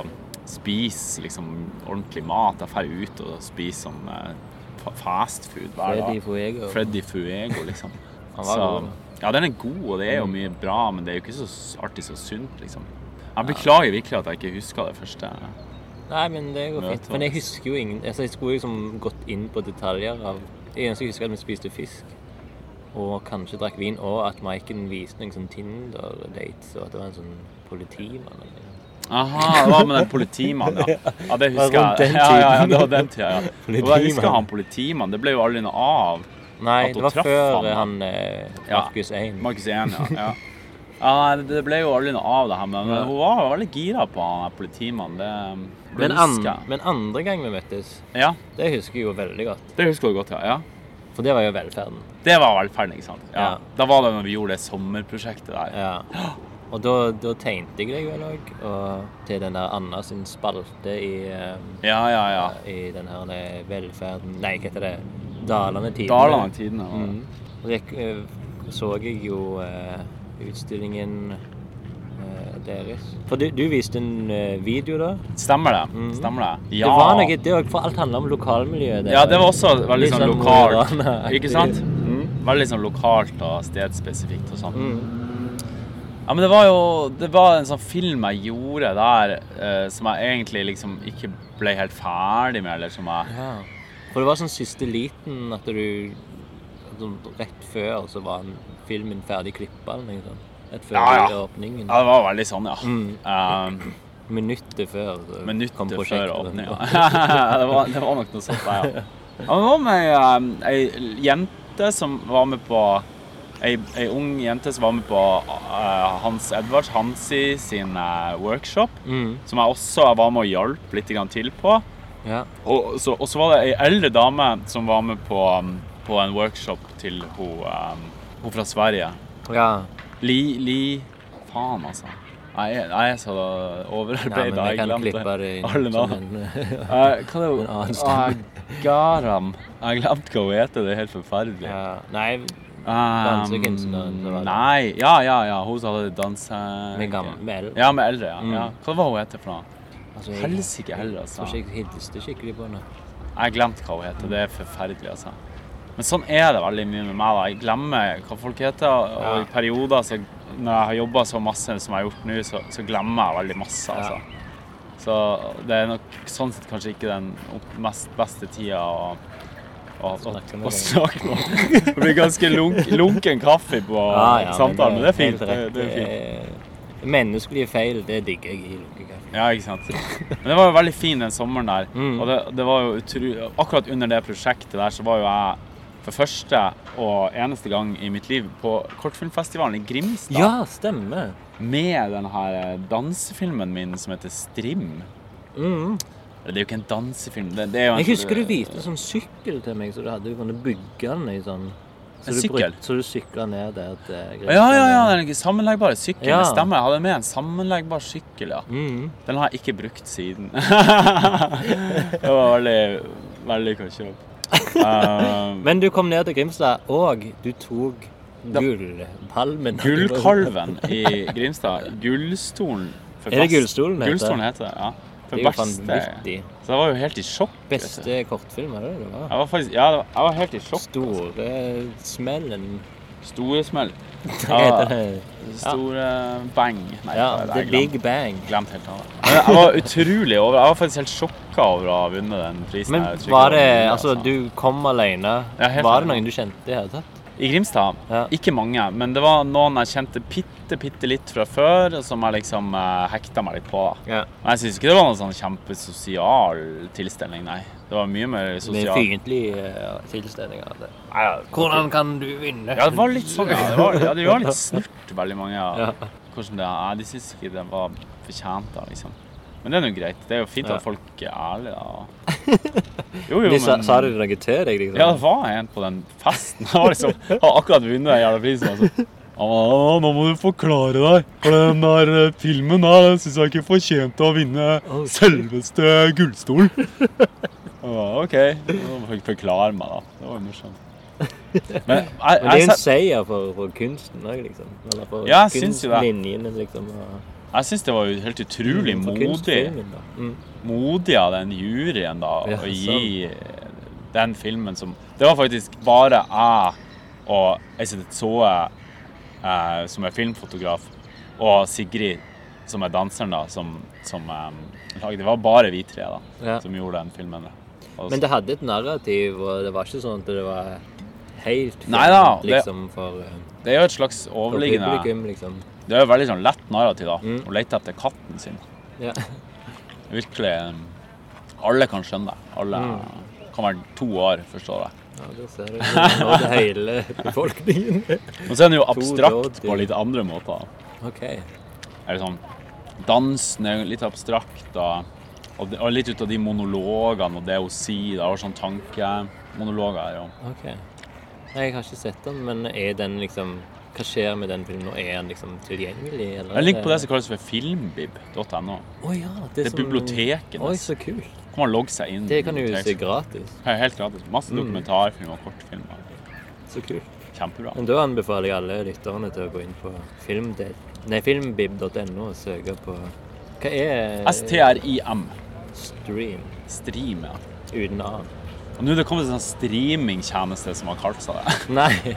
spise liksom ordentlig mat. Jeg drar ut og spiser sånn eh, fa- fast food hver dag. Freddy Fuego. Freddy Fuego, liksom. [LAUGHS] Han var Så, god, Mm. ja, den er god, og det er jo mye bra, men det er jo ikke så s- artig så sunt, liksom. Jeg beklager virkelig at jeg ikke huska det første. Nei, men det går fint. Møte Men jeg oss. husker jo ingen altså, Jeg skulle liksom gått inn på detaljer av Det eneste jeg husker, er at vi spiste fisk. Og kanskje drakk vin, og at Maiken viste noen sånn Tinder-dates, og at det var en sånn politimann eller noe. Aha, det var med den politimannen, [LAUGHS] ja. Ja, det var husker jeg. rundt den Ja, ja, ja, tiden. det var den tida, ja. Og jeg husker [LAUGHS] Politimannen. han politimannen. Det ble jo aldri noe av. Nei, At hun det var traff før han, han eh, Ja. Markus Ein. Markus 1, ja. ja. Ja, det det ble jo aldri noe av det her, men Ja. hun var veldig gira på han her politimannen. Det, det Men, an, husker jeg. men andre gang vi møttes, Ja, det husker jeg jo veldig godt. det husker du godt, ja. ja. For det var jo velferden. Det var velferden, ikke sant? Ja. Ja. Da var det når vi gjorde det sommerprosjektet der. Ja. Og da, da tegnte jeg deg vel òg, og til den der Anna sin spalte i eh, Ja, ja, ja. i den her eh, velferden Nei, hva heter det? Dalane Tidende. Dalane tidene. var det. Mm. Og det eh, så jeg jo eh, utstillingen eh, deres. For du, du viste en eh, video da. Stemmer det? Stemmer det? Mm. Ja. Det var noe, det var, for alt handla om lokalmiljøet. der. Ja, det var også veldig Litt sånn sånn lokalt. Morana-aktig. Ikke sant? Veldig sånn lokalt og stedspesifikt og sånn. Mm. Ja, men det var jo Det var en sånn film jeg gjorde der eh, som jeg egentlig liksom ikke ble helt ferdig med, eller som jeg Ja. For det var sånn siste liten at du sånn Rett før så var den filmen ferdig klippa eller noe sånt. Rett før Ja, ja. åpningen. Ja, det var veldig sånn, ja. Eh, Minuttet før eh, kom Minutter før prosjektet. åpninga. [LAUGHS] det, var- det var nok noe sånt, der, ja. ja. men Det var med eh, ei jente som var med på Ei, ei ung jente som var med på eh, Hans Edvards Hansi sin eh, workshop. Mm. Som jeg også var med og hjalp litt grann til på. Ja. Og så, og så var det ei eldre dame som var med på, um, på en workshop til hun, um, hun fra Sverige. Ja. Li, li Faen, altså. Jeg er, jeg er så Nei, men overarbeida. vi Jeg kan glemte klippe det inn. alle som navn. en- [LAUGHS] Eh, Hva er det? En annen Ah, stemme. Garam. Jeg glemte hva hun heter. Det er helt forferdelig. ja. Nei, Um, Dansekunstneren, så var det. Nei. Ja, ja, ja. Hun som hadde danse... med gammel med eldre. Mm. Ja, med eldre, ja. ja. Hva var hun heter for noe? Altså, jeg- Helsike heller, Jeg tror altså. ikke jeg hilste skikkelig på henne. Jeg glemte hva hun heter. Det er forferdelig, altså. Men sånn er det veldig mye med meg. da. Jeg glemmer hva folk heter. Og Ja. i perioder, så når jeg har jobba så masse som jeg har gjort nå, så, så glemmer jeg veldig masse. Ja. altså. Så det er nok sånn sett kanskje ikke den opp- mest beste tida å, å, å, Snakke med å deg. snakke med Det blir ganske lunk, lunken kaffe på samtalen, men det er fint. helt Det, rett. det er fint. Eh, Menneskelige feil, det digger jeg i lukkekaffe. Ja, ikke sant. Men det var jo veldig fin den sommeren der. Mm. Og det, det var jo utru... Akkurat under det prosjektet der så var jo jeg for første og eneste gang i mitt liv på kortfilmfestivalen i Grimstad Ja, stemmer. med den her eh, dansefilmen min som heter Strim. Mm. Det er jo ikke en dansefilm. Det, det er jo en, Jeg husker du viste en sånn sykkel til meg, så du hadde jo kunnet bygge den i sånn så En du sykkel? brukte- Så du sykla ned der til Ja, ja, ja. Den sammenleggbare sykkelen. Ja. det Stemmer. Jeg hadde med en sammenleggbar sykkel, ja. Mm. Den har jeg ikke brukt siden. [LAUGHS] det var veldig vellykka kjøp. Um, Men du kom ned til Grimstad, og du tok gullpalmen. [LAUGHS] Gullkalven i Grimstad. Gullstolen. for Er det best- Gullstolen heter? Gullstolen heter det, ja. For Det er jo beste. vanvittig. Så jeg var jo helt i sjokk. vet du. Beste kortfilm, er det det var? Jeg var faktisk, ja, det var- jeg var helt i sjokk. Store smellen. Store smell. Hva heter Ja, [LAUGHS] det? store bang. Nei, Ja, det The Big Bang. Glemt helt av det. Men jeg var utrolig over Jeg var faktisk helt sjokka over å ha vunnet den prisen. Men Jeg tror ikke var mulig, det Altså, du kom alene. Ja, helt Var det alene. noen du kjente i hele tatt? I Grimstad? Ja. Ikke mange, men det var noen jeg kjente bitte, bitte litt fra før, og som jeg liksom eh, hekta meg litt på. da. Ja. Men jeg syns ikke det var noen sånn kjempesosial tilstelning, nei. Det var mye mer Med sosial. fiendtlige ja, tilstelninger. det. Nei, ja. Hvordan kan du vinne? ja, det var litt sånn, ja. Det var, ja, de var litt snurt, veldig mange. Ja. Ja. Hvordan det er, De syns ikke det var fortjent, da, liksom. Men det er nå greit. Det er jo fint Ja. at folk er ærlige. [LAUGHS] da. Jo, De sa, men- sa de noe til deg, liksom? Ja, det var en på den festen. Han var liksom, hadde akkurat vunnet den jævla prisen. Altså. Han var, «Ja, nå må du forklare deg, for den der eh, filmen her den syns jeg ikke fortjente å vinne selveste gullstolen. Jeg ba, OK. Nå må jeg forklare meg, da. Det var jo morsomt. Men jeg, jeg, Men det er jo en sy- seier for, for kunsten òg, liksom. Eller for Ja, jeg syns jo det. kunstlinjene, liksom. og- jeg syns det var jo helt utrolig for modig, kunstfilmen, da. Mm. modig av den juryen da, Ja, å gi den filmen som Det var faktisk bare jeg og Eiset Tsoe eh, som er filmfotograf, og Sigrid, som er danseren, da, som, som eh, lagde Det var bare vi tre da, Ja. som gjorde den filmen. Og Men det hadde et narrativ, og det var ikke sånn at det var helt Nei da, fint, det- liksom, for, eh, det er jo et slags for overliggende publikum, liksom. Det er jo veldig sånn lett narrativ, da. Mm. Å lete etter katten sin. Ja. [LAUGHS] Virkelig eh, Alle kan skjønne det. Alle Mm. kan være to år, forstår jeg. ja, det ser [LAUGHS] du. Du nådde hele befolkningen. [LAUGHS] Men så er den jo råd abstrakt til- på litt andre måter. OK. Er det sånn, dansen er jo litt abstrakt, da. og, det- og litt ut av de monologene og det hun sier. da, og sånn tankemonologer. er jo. Ok. Nei, jeg har ikke sett den, men er den liksom Hva skjer med den filmen nå? Er den liksom tilgjengelig? Eller Jeg ligger på det som kalles for filmbib.no. Å ja, det Det er som- biblioteket. Oi, dess. så kult. Kan man logge seg inn. Det kan du jo Mm. se biblioteket. gratis. Ja, Helt gratis. Masse dokumentarfilmer og kortfilmer. Så kult. Kjempebra. Men da anbefaler jeg alle lytterne til å gå inn på filmdel... Nei, filmbib.no og søke på Hva er STRIM. stream? Stream, ja. Uten A. [LAUGHS] Og nå er det kommet en sånn streamingtjeneste som har kalt seg det. [LAUGHS] Nei.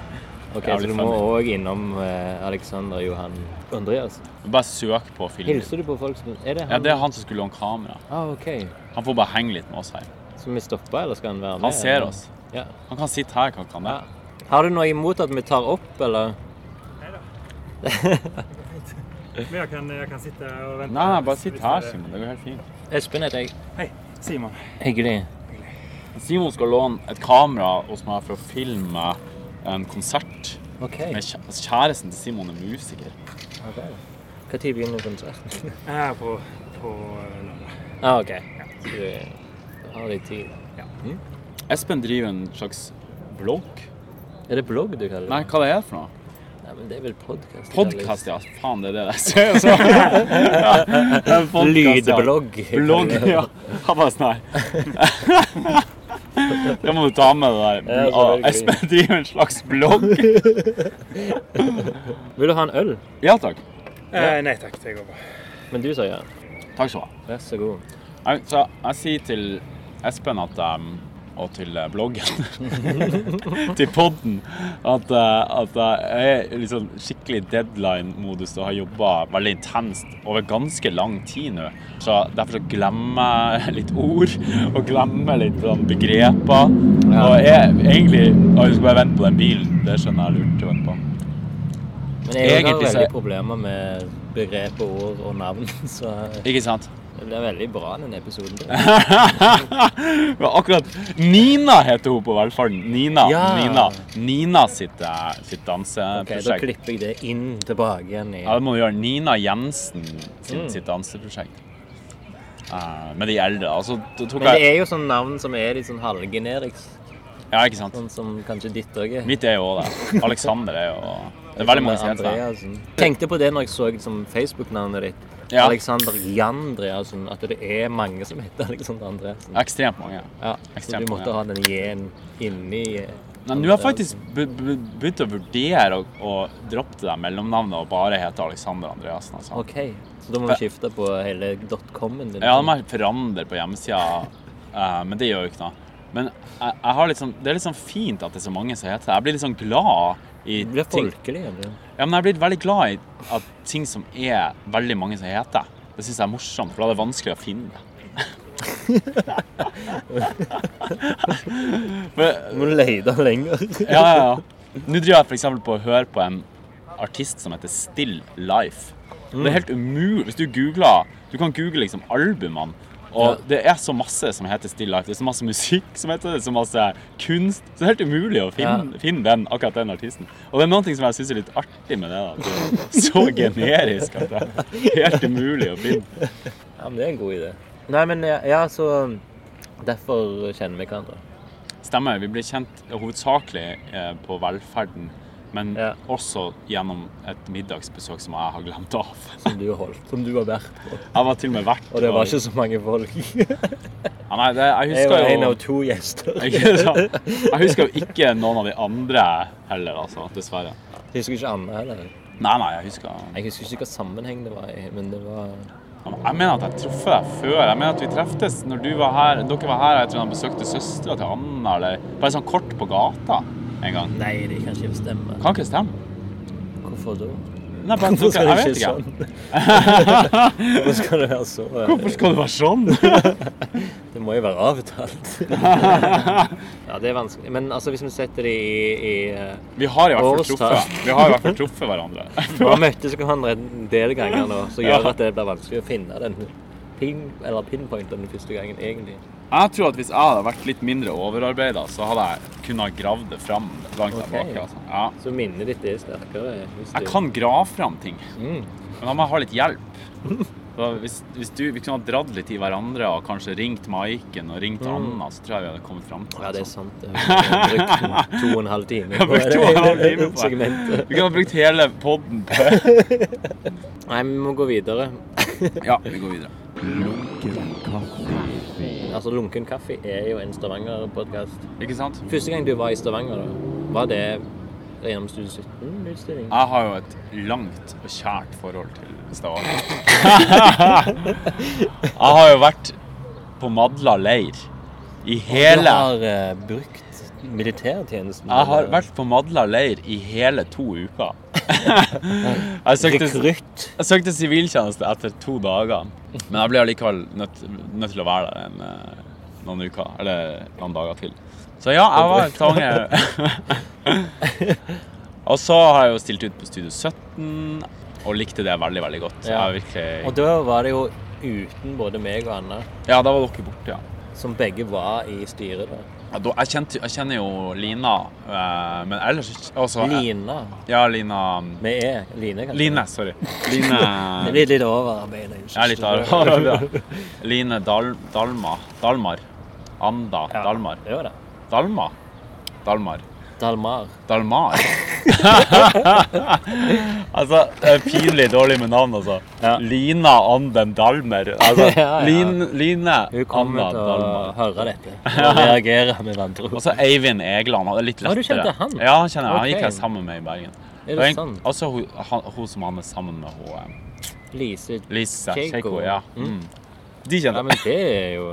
Ok, Jævlig så du må òg innom eh, Alexander Johan Andreas. Bare søk på film. Hilser du på folk som Er det Ja, han? det er han som skulle låne kamera. Ah, OK. Han får bare henge litt med oss her. Skal vi stoppe, eller skal han være med? Han ser eller? oss. Ja. Han kan sitte her, kan han det? Ja. Har du noe imot at vi tar opp, eller? Men jeg kan, jeg kan sitte og vente. Nei, nei, bare sitt Hvis her, dere- Simon. Det går helt fint. Espen heter jeg. Hei, Simon. Hyggelig. Simon skal låne et kamera hos meg for å filme en konsert. OK. Med kjæ- altså, kjæresten til Simon er musiker. Når begynner konserten? Jeg er på, på eh, lørdag. ah, OK. Så du eh, har litt tid. Espen driver en slags blogg. Er det blogg du kaller det? Nei, hva det er for noe? Nei, men det er vel podkast. Podkast, ja. Faen, det er det jeg [LAUGHS] ser. Så. Ja, en podcast, ja. Lydblogg. Blogg, ja. Han bare sånn her. [LAUGHS] Det må du ta med deg. Ja, Ja, selvfølgelig. Espen driver en slags blogg. Vil du ha en øl? Ja takk. Eh, nei takk, det går bra. Men du sa ja. Takk skal du ha. Vær så god. Jeg, så jeg sier til Espen at um, og til eh, bloggen, [LAUGHS] til podden, at, eh, at jeg er liksom skikkelig deadline-modus og har jobba veldig intenst over ganske lang tid nå. Så Derfor så glemmer jeg litt ord og glemmer litt sånn, begreper. Og jeg egentlig Å, jeg skal bare vente på den bilen. Det skjønner jeg er lurt å vente på. Men jeg har Egentlig så- veldig problemer med begrep og ord og navn, [LAUGHS] så eh, Ikke sant? det blir veldig bra den episoden. [LAUGHS] Men akkurat Nina heter hun på velferden. Nina. Ja. Nina, Nina sitt, eh, sitt Ok, da danseprosjekt. klipper jeg det inn tilbake igjen i ja, det må du gjøre. Nina Jensen sitt, Mm. sitt danseprosjekt. Eh, med de eldre. Altså, det tok Men det er jeg jo sånn navn som er litt sånn halvgeneriks, Ja, ikke sant? sånn som kanskje ditt òg er. Mitt er jo også det. Alexander er jo Det er veldig mange som heter det. Andreasen. Tenkte på det når jeg så liksom, Facebook-navnet ditt. Ja. Alexander Jandreasen. At det er mange som heter Alexander Andreasen. Ekstremt mange. Ja, så ekstremt du måtte mange. ha den J-en inni eh, Nei, Nå har Andreasen. jeg faktisk be- be- begynt å vurdere å, å droppe det der mellomnavnet og bare hete Alexander Andreassen. Altså. OK. Så da må vi skifte på hele dotcomen din. Ja, det må jeg forandre på hjemmesida, eh, men det gjør jo ikke noe. Men jeg, jeg har litt sånn, det er litt sånn fint at det er så mange som heter det. Jeg blir litt sånn glad i Det blir ting folkelig. eller? Ja, men jeg blir veldig glad i at ting som er veldig mange som heter. Det syns jeg er morsomt, for da er det vanskelig å finne det. men, Du må lete lenger. [LAUGHS] [LAUGHS] ja, ja, ja. Nå driver jeg for eksempel på å høre på en artist som heter Still Life. Det er helt umulig. Hvis du googler Du kan google liksom albumene, og det er så masse som heter Still Life. Det er så masse musikk som heter det, så masse kunst. Så det er helt umulig å finne, Ja. finne den, akkurat den artisten. Og det er noen ting som jeg syns er litt artig med det. da. at det er Så generisk at det er helt umulig å finne. Ja, men det er en god idé. Nei, men ja, ja så Derfor kjenner vi hverandre. Stemmer. Vi blir kjent hovedsakelig eh, på velferden, men Ja. også gjennom et middagsbesøk som jeg har glemt av. Som du holdt. Som du har vært på. Jeg var til og med vert. Og det var ikke så mange folk. ja, Nei, det, jeg Jeg var husker en jo av to gjester. [LAUGHS] Ikke sant? Jeg husker jo ikke noen av de andre heller, altså. Dessverre. Jeg husker ikke Anna heller. Nei, nei, jeg husker Jeg Jeg husker ikke hvilken sammenheng det var i, men det var mener at jeg traff deg før. Jeg mener at vi treftes når du var her, dere var her, og jeg tror han besøkte søstera til Anna, eller bare sånn kort på gata en gang. Nei, det kan ikke stemme. Kan ikke stemme. Hvorfor da? Nei, bare, dere, jeg vet ikke. sånn? Hvorfor skal det være så? Hvorfor skal det være sånn? Det må jo være [LAUGHS] avtalt. ja, det er vanskelig. Men altså, hvis vi setter det i, i eh, Vi har i hvert fall Årstall. truffet, vi har i hvert fall truffet hverandre. Vi har møttes hverandre en del ganger nå, som Ja. gjør at det blir vanskelig å finne den ping, eller pinpointen den første gangen, egentlig. Jeg tror at hvis jeg hadde vært litt mindre overarbeida, så hadde jeg kunnet gravd det fram langt Ok. tilbake. Altså. Ja. Så minnet ditt er sterkere. eh, hvis du- Jeg kan grave fram ting, Mm. men da må jeg ha litt hjelp. Så hvis, hvis du, Vi kunne ha dratt litt i hverandre og kanskje ringt Maiken og ringt Anna, så tror jeg vi hadde kommet fram til Mm. Ja, altså. det er noe [LAUGHS] sant. sånt. det. Jeg har brukt to og en halv time Jeg har brukt to og en halv time på det. [LAUGHS] segmentet. Vi kunne ha brukt hele podden på Nei, vi må gå videre. Ja, vi går videre. Lunken kaffe. Altså, Lunken kaffe er jo en Stavanger-podkast. Ikke sant? Første gang du var i Stavanger, da, var det gjennom Studio 17-utstilling? Jeg har jo et langt og kjært forhold til Stavanger. Jeg har jo vært på Madla leir i Du hele har eh, brukt militærtjenesten? Jeg har eller? vært på Madla leir i hele to uker. [LAUGHS] jeg, søkte, rekrutt. jeg søkte siviltjeneste etter to dager, men jeg ble allikevel nødt, nødt til å være der en, eh, noen uker, eller noen dager til. Så ja, jeg var i Stavanger. [LAUGHS] og så har jeg jo stilt ut på Studio 17, og likte det veldig, veldig godt. Ja. Jeg Og virkelig, da var det jo uten både meg og Anna, ja, da var dere borte, ja. som begge var i styret der. ja da, jeg, kjente, jeg kjenner jo Lina, eh, men ellers ikke altså, jeg- Lina. Ja, Lina Vi er Line, kanskje? Line, sorry. [LAUGHS] Det Line blir litt overarbeid. Jeg er litt [LAUGHS] arg. Line Dal, Dalma Dalmar. Anda Ja, Dalmar. Det var det. Dalma? Dalmar. Dalmar. [LAUGHS] Dalmar. Altså, det er pinlig dårlig med navn, altså. Ja. Lina Anden Dalmer. Altså, [LAUGHS] Ja, ja. Lin, Line Hun Anna kommer til å Dalmer. høre [LAUGHS] dette og reagere med vantro. Og så Eivind Egeland. Han er litt Å, du lettere. kjente han? Ja, han kjenner jeg. Han Ok. gikk jeg sammen med i Bergen. Er Og det en- sant? Også hun, han, hun som han er sammen med, hun eh, Lise Lise Keiko. Keiko. Ja. Mm. De Ja, kjente men det er jo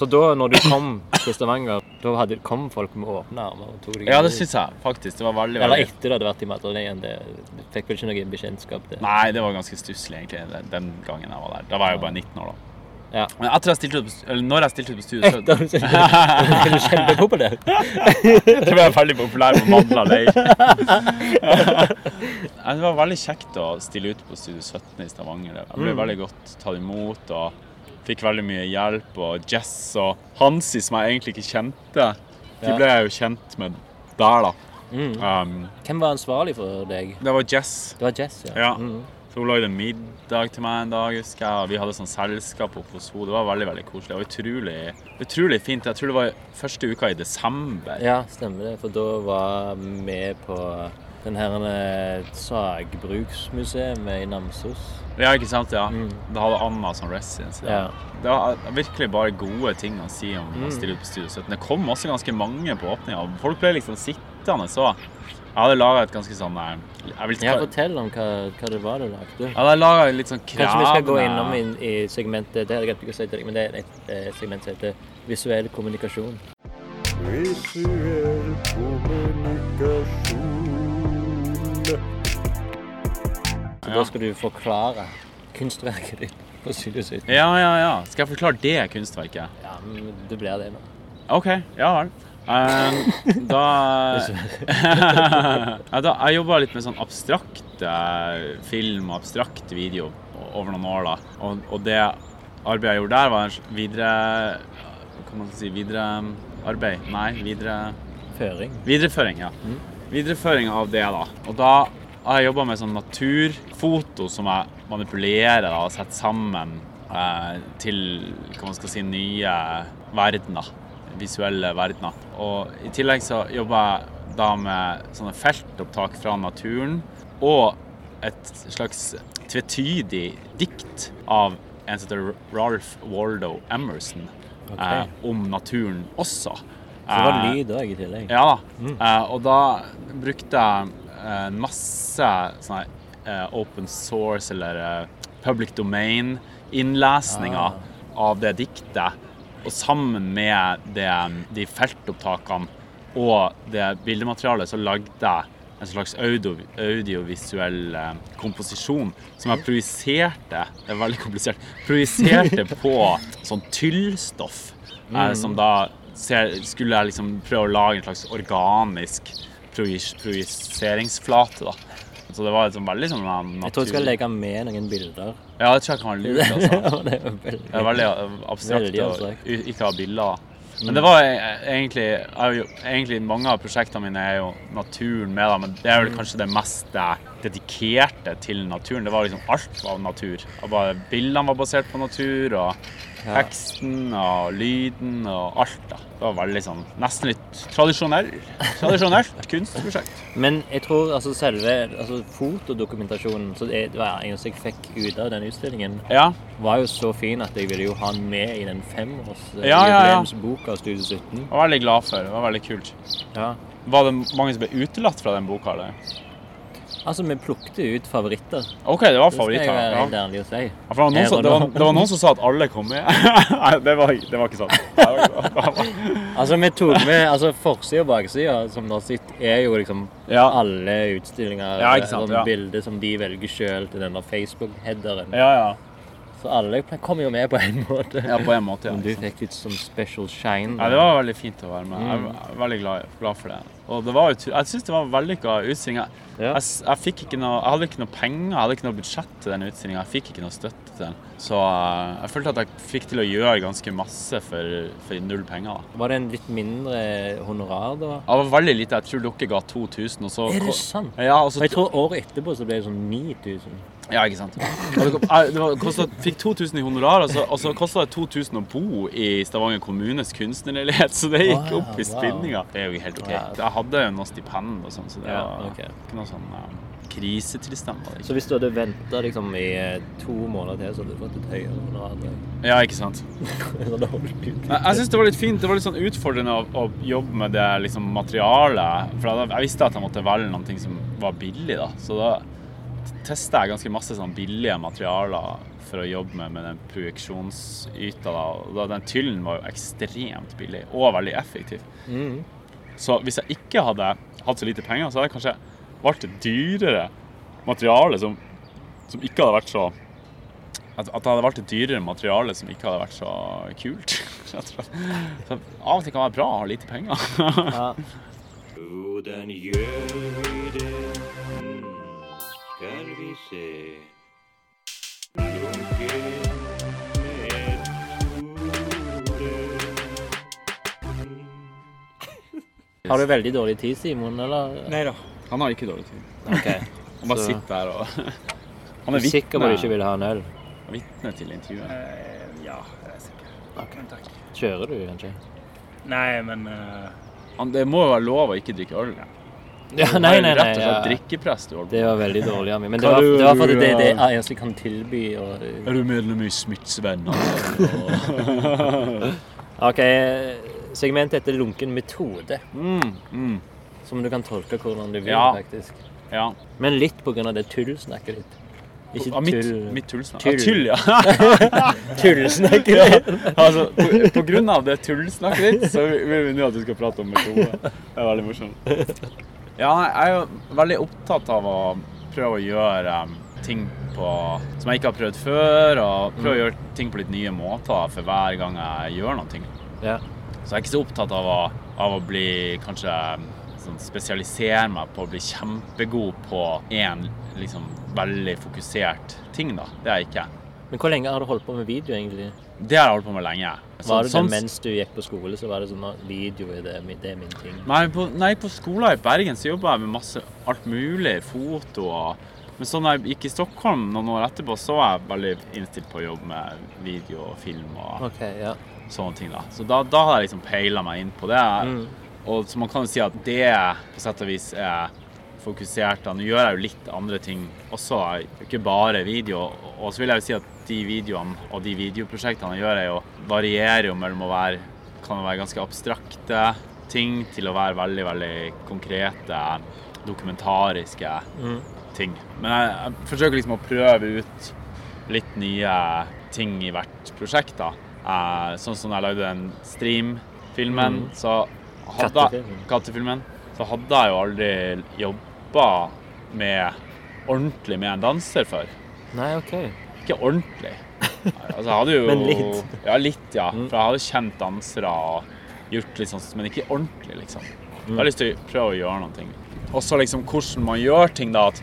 Så da når du kom til Stavanger, da hadde, kom folk med åpne armer og tok deg Ja, det imot? syns jeg faktisk. Det var veldig, Eller veldig etter du hadde vært i Madrilen. Det du fikk vel ikke noe bekjentskap til? Nei, det var ganske stusslig egentlig den- den gangen jeg var der. Da var jeg jo bare 19 år, da. Ja. Men etter jeg stilte ut, på stu- eller når jeg stilte ut på studiet, Etter at du [LAUGHS] [LAUGHS] så kjente du kjente på på det? Jeg tror jeg er veldig populær på mandler leir. [LAUGHS] Nei, det var veldig kjekt å stille ut på Studio 17 i Stavanger. Jeg ble veldig godt tatt imot og fikk veldig mye hjelp. Og Jess og Hansi, som jeg egentlig ikke kjente, de Ja. ble jeg jo kjent med der, da. Um, Hvem var ansvarlig for deg? det var Jess. Det var Jess, ja. Ja. Mm. Så hun lagde middag til meg en dag, husker jeg. Og vi hadde sånn selskap oppe hos henne. Det var veldig veldig koselig. Det var utrolig, utrolig fint. Jeg tror det var første uka i desember. ja, stemmer det. For da var vi på den her eh, sagbruksmuseet i Namsos. Ja, ikke sant? ja. Da hadde Anna som residence. Mm. Ja. Ja. Mm. Det var virkelig bare gode ting å si om å stille ut på Studio 17. Det kom også ganske mange på åpninga. og Folk ble liksom sittende så. Jeg hadde laga et ganske sånn eh, Jeg vil Ja, ikke fortell om hva, hva det var du lagde. Jeg hadde laga litt sånn krevende Kanskje vi skal gå innom eh, i, i segmentet Det hadde jeg glemt å si til deg, men det er et, eh, segment som heter visuell kommunikasjon. Visuell kommunikasjon. Så Da skal du forklare kunstverket ditt på Studio 17. Ja, ja, ja. Skal jeg forklare det kunstverket? Ja, men du blir det nå. OK. Ja vel. Eh, da [LAUGHS] ja, da Jeg jobba litt med sånn abstrakt eh, film, abstrakt video o- over noen år, da. Og, og det arbeidet jeg gjorde der, var en s- videre Hva man skal si Videre um, arbeid? Nei, videre Føring. Videreføring, ja. Mm. Videreføring av det, da. Og da har jeg jobba med sånn naturfoto som jeg manipulerer da, og setter sammen eh, til hva man skal si, nye verdener. Visuelle verdener. Og i tillegg så jobber jeg da med sånne feltopptak fra naturen og et slags tvetydig dikt av en som heter Ralph Waldo Emerson eh, om naturen også. Så var det Eh, lyd òg i tillegg. ja da. Eh, og da brukte jeg eh, masse sånne eh, open source eller eh, public domain-innlesninger av det diktet. Og sammen med det, de feltopptakene og det bildematerialet så lagde jeg en slags audio, audiovisuell eh, komposisjon som jeg projiserte Det er veldig komplisert. Projiserte på sånn tyllstoff. eh, Som da ser, skulle jeg liksom prøve å lage en slags organisk projis, projiseringsflate. da. Så det var liksom veldig sånn eh, Jeg tror jeg skal naturlig- legge med noen bilder. Ja, [LAUGHS] det tror jeg kan være lurt. [LAUGHS] altså. det er veldig Det er veldig eh, abstrakt Veldig å abstrakt. Mm. u- ikke ha bilder. Men det var eh, egentlig, jeg har jo- egentlig Mange av prosjektene mine er jo naturen med, da, men det Mm. er vel kanskje det mest eh, dedikerte til naturen. Det var liksom alt av natur. Og bare Bildene var basert på natur, og teksten og lyden og alt. da. Det var veldig sånn Nesten litt tradisjonell, [LAUGHS] tradisjonelt kunstprosjekt. Men jeg tror altså selve altså, fotodokumentasjonen som jeg, det var eneste jeg fikk ut av den utstillingen, Ja. var jo så fin at jeg ville jo ha den med i den femårsjubileumsboka Ja, ja, ja. av Studio 17. Jeg var veldig glad for det. var veldig kult. Ja. Var det mange som ble utelatt fra den boka? eller? Altså, vi plukket ut favoritter. Det OK, det var skal jeg favoritter. være ja. helt ærlig å si. Ja, for det, var noen som, det, var, det var noen som sa at alle kom med. [LAUGHS] Nei, det var, det var ikke sant. Det var ikke [LAUGHS] sant. Altså, vi tok med altså, forsida og baksida, som dere sitter, er jo liksom Ja, alle utstillinger. Ja, ikke sant, sånn ja. Bilder som de velger sjøl til denne Facebook-headeren. ja, ja. Så alle kommer jo med på en [LAUGHS] måte. ja på en måte. Men du Ja. fikk Mm. litt sånn special shine. Ja, det var veldig fint å være med. Jeg er veldig glad, glad for det. Og det var, utro- jeg syns det var en vellykka utstilling. Jeg, Ja. jeg, s- jeg, fikk ikke noe, jeg hadde ikke noe penger, jeg hadde ikke noe budsjett til den utstillinga. Jeg fikk ikke noe støtte til den. Så eh, jeg følte at jeg fikk til å gjøre ganske masse for, for null penger. da. Var det en litt mindre honorar da? Det var veldig lite. Jeg tror dere ga 2000, og så Er det sant? Ja, og så Og jeg tror året etterpå så ble det sånn 9000. Ja, ikke sant. Og det, kom- jeg- det var, kostet, fikk 2000 i honorar, og så, og så kosta det 2000 å bo i Stavanger kommunes kunstnerleilighet, så det gikk Wow, opp i wow. spinninga. Det er jo helt OK. Wow. Jeg hadde jo noe stipend og sånn, så det Ja, var ok. ikke noe sånn um, krisetilstand. var det ikke. Så hvis du hadde venta liksom, i eh, to måneder til, så hadde du fått et høyere [LAUGHS] honorar? Ja, ikke sant. Så hadde holdt ut. Jeg, jeg syns det var litt fint. Det var litt sånn utfordrende å, å jobbe med det liksom, materialet. For jeg, jeg visste at jeg måtte velge noen ting som var billig, da. Så da testa jeg ganske masse sånn billige materialer for å jobbe med, med den projeksjonsyta. Da. Og da, den tyllen var jo ekstremt billig, og veldig effektiv. Så hvis jeg ikke hadde hatt så lite penger, så hadde jeg kanskje valgt et dyrere materiale som, som ikke hadde vært så at, at jeg hadde valgt et dyrere materiale som ikke hadde vært så kult. [LAUGHS] rett og slett. Så av og til kan det være bra å ha lite penger. Hvordan gjør vi det? Skal vi [LAUGHS] se Har du veldig dårlig tid, Simon, eller? Nei da. Han har ikke dårlig tid. [LAUGHS] Ok. Han bare Så- sitter der og [LAUGHS] Han er Sikker på at du ikke vitne, vil ha en øl? vitne til intervjuet. Eh, ja, jeg er sikker. Men takk. Kjører du, kanskje? Nei, men eh, Han, det må jo være lov å ikke drikke [LAUGHS] øl. Ja, Han nei, er jo nei, nei. Ja. Rett og slett drikkepress du holder på Det var veldig dårlig av meg. Men det Hva var, du- eh, det var fordi det, det ja. er eneste jeg kan tilby. Og... med. Er du medlem i Smittsvennene? OK, segmentet heter lunken metode. Mm, mm. Som du kan tolke hvordan du vil, Ja. faktisk. Ja. Men litt på grunn av det tullsnakket ditt. Ikke Ah, mitt, tull... mitt tullsnakk. Tull. Ah, tull, ja. [LAUGHS] Tullsnakket ditt! altså, på, på grunn av det tullsnakket ditt, så vil vi nå at du skal prate om metode. Det er veldig morsomt. Ja, nei, jeg er jo veldig opptatt av å prøve å gjøre um, ting på, som jeg ikke har prøvd før, og prøve å gjøre ting på litt nye måter for hver gang jeg gjør noe. Ja. Så jeg er ikke så opptatt av å, av å bli kanskje sånn, spesialisere meg på å bli kjempegod på én liksom, veldig fokusert ting, da. Det er jeg ikke. Men hvor lenge har du holdt på med video, egentlig? Det har jeg holdt på med lenge. Var det det Sånn- mens du gikk på skole, så var det sånn at video er det, min- det er min ting? Nei, på, nei, på skolen i Bergen så jobba jeg med masse alt mulig, foto og Men så når jeg gikk i Stockholm noen år etterpå, så var jeg veldig innstilt på å jobbe med video og film og OK, ja. sånne ting. da. Så da, da hadde jeg liksom peila meg inn på det. Mm. Og så man kan jo si at det på sett og vis er fokusert. da. Nå gjør jeg jo litt andre ting også, ikke bare video. Og så vil jeg jo si at de videoene og de videoprosjektene jeg gjør, er jo, varierer jo mellom å være kan være ganske abstrakte ting til å være veldig, veldig konkrete, dokumentariske ting. Men jeg, jeg forsøker liksom å prøve ut litt nye ting i hvert prosjekt. da. Eh, sånn som når jeg lagde den Stream-filmen, så Mm. hadde Kattefilmen. Kattefilmen. Så hadde jeg jo aldri jobba med ordentlig med en danser før. Nei, OK. Ikke ordentlig. Altså, jeg hadde jo [LAUGHS] Men litt. Mm. Ja, litt, ja. For jeg hadde kjent dansere og gjort litt sånn, men ikke ordentlig, liksom. Jeg Mm. har lyst til å prøve å gjøre noen ting. Også liksom hvordan man gjør ting, da. At,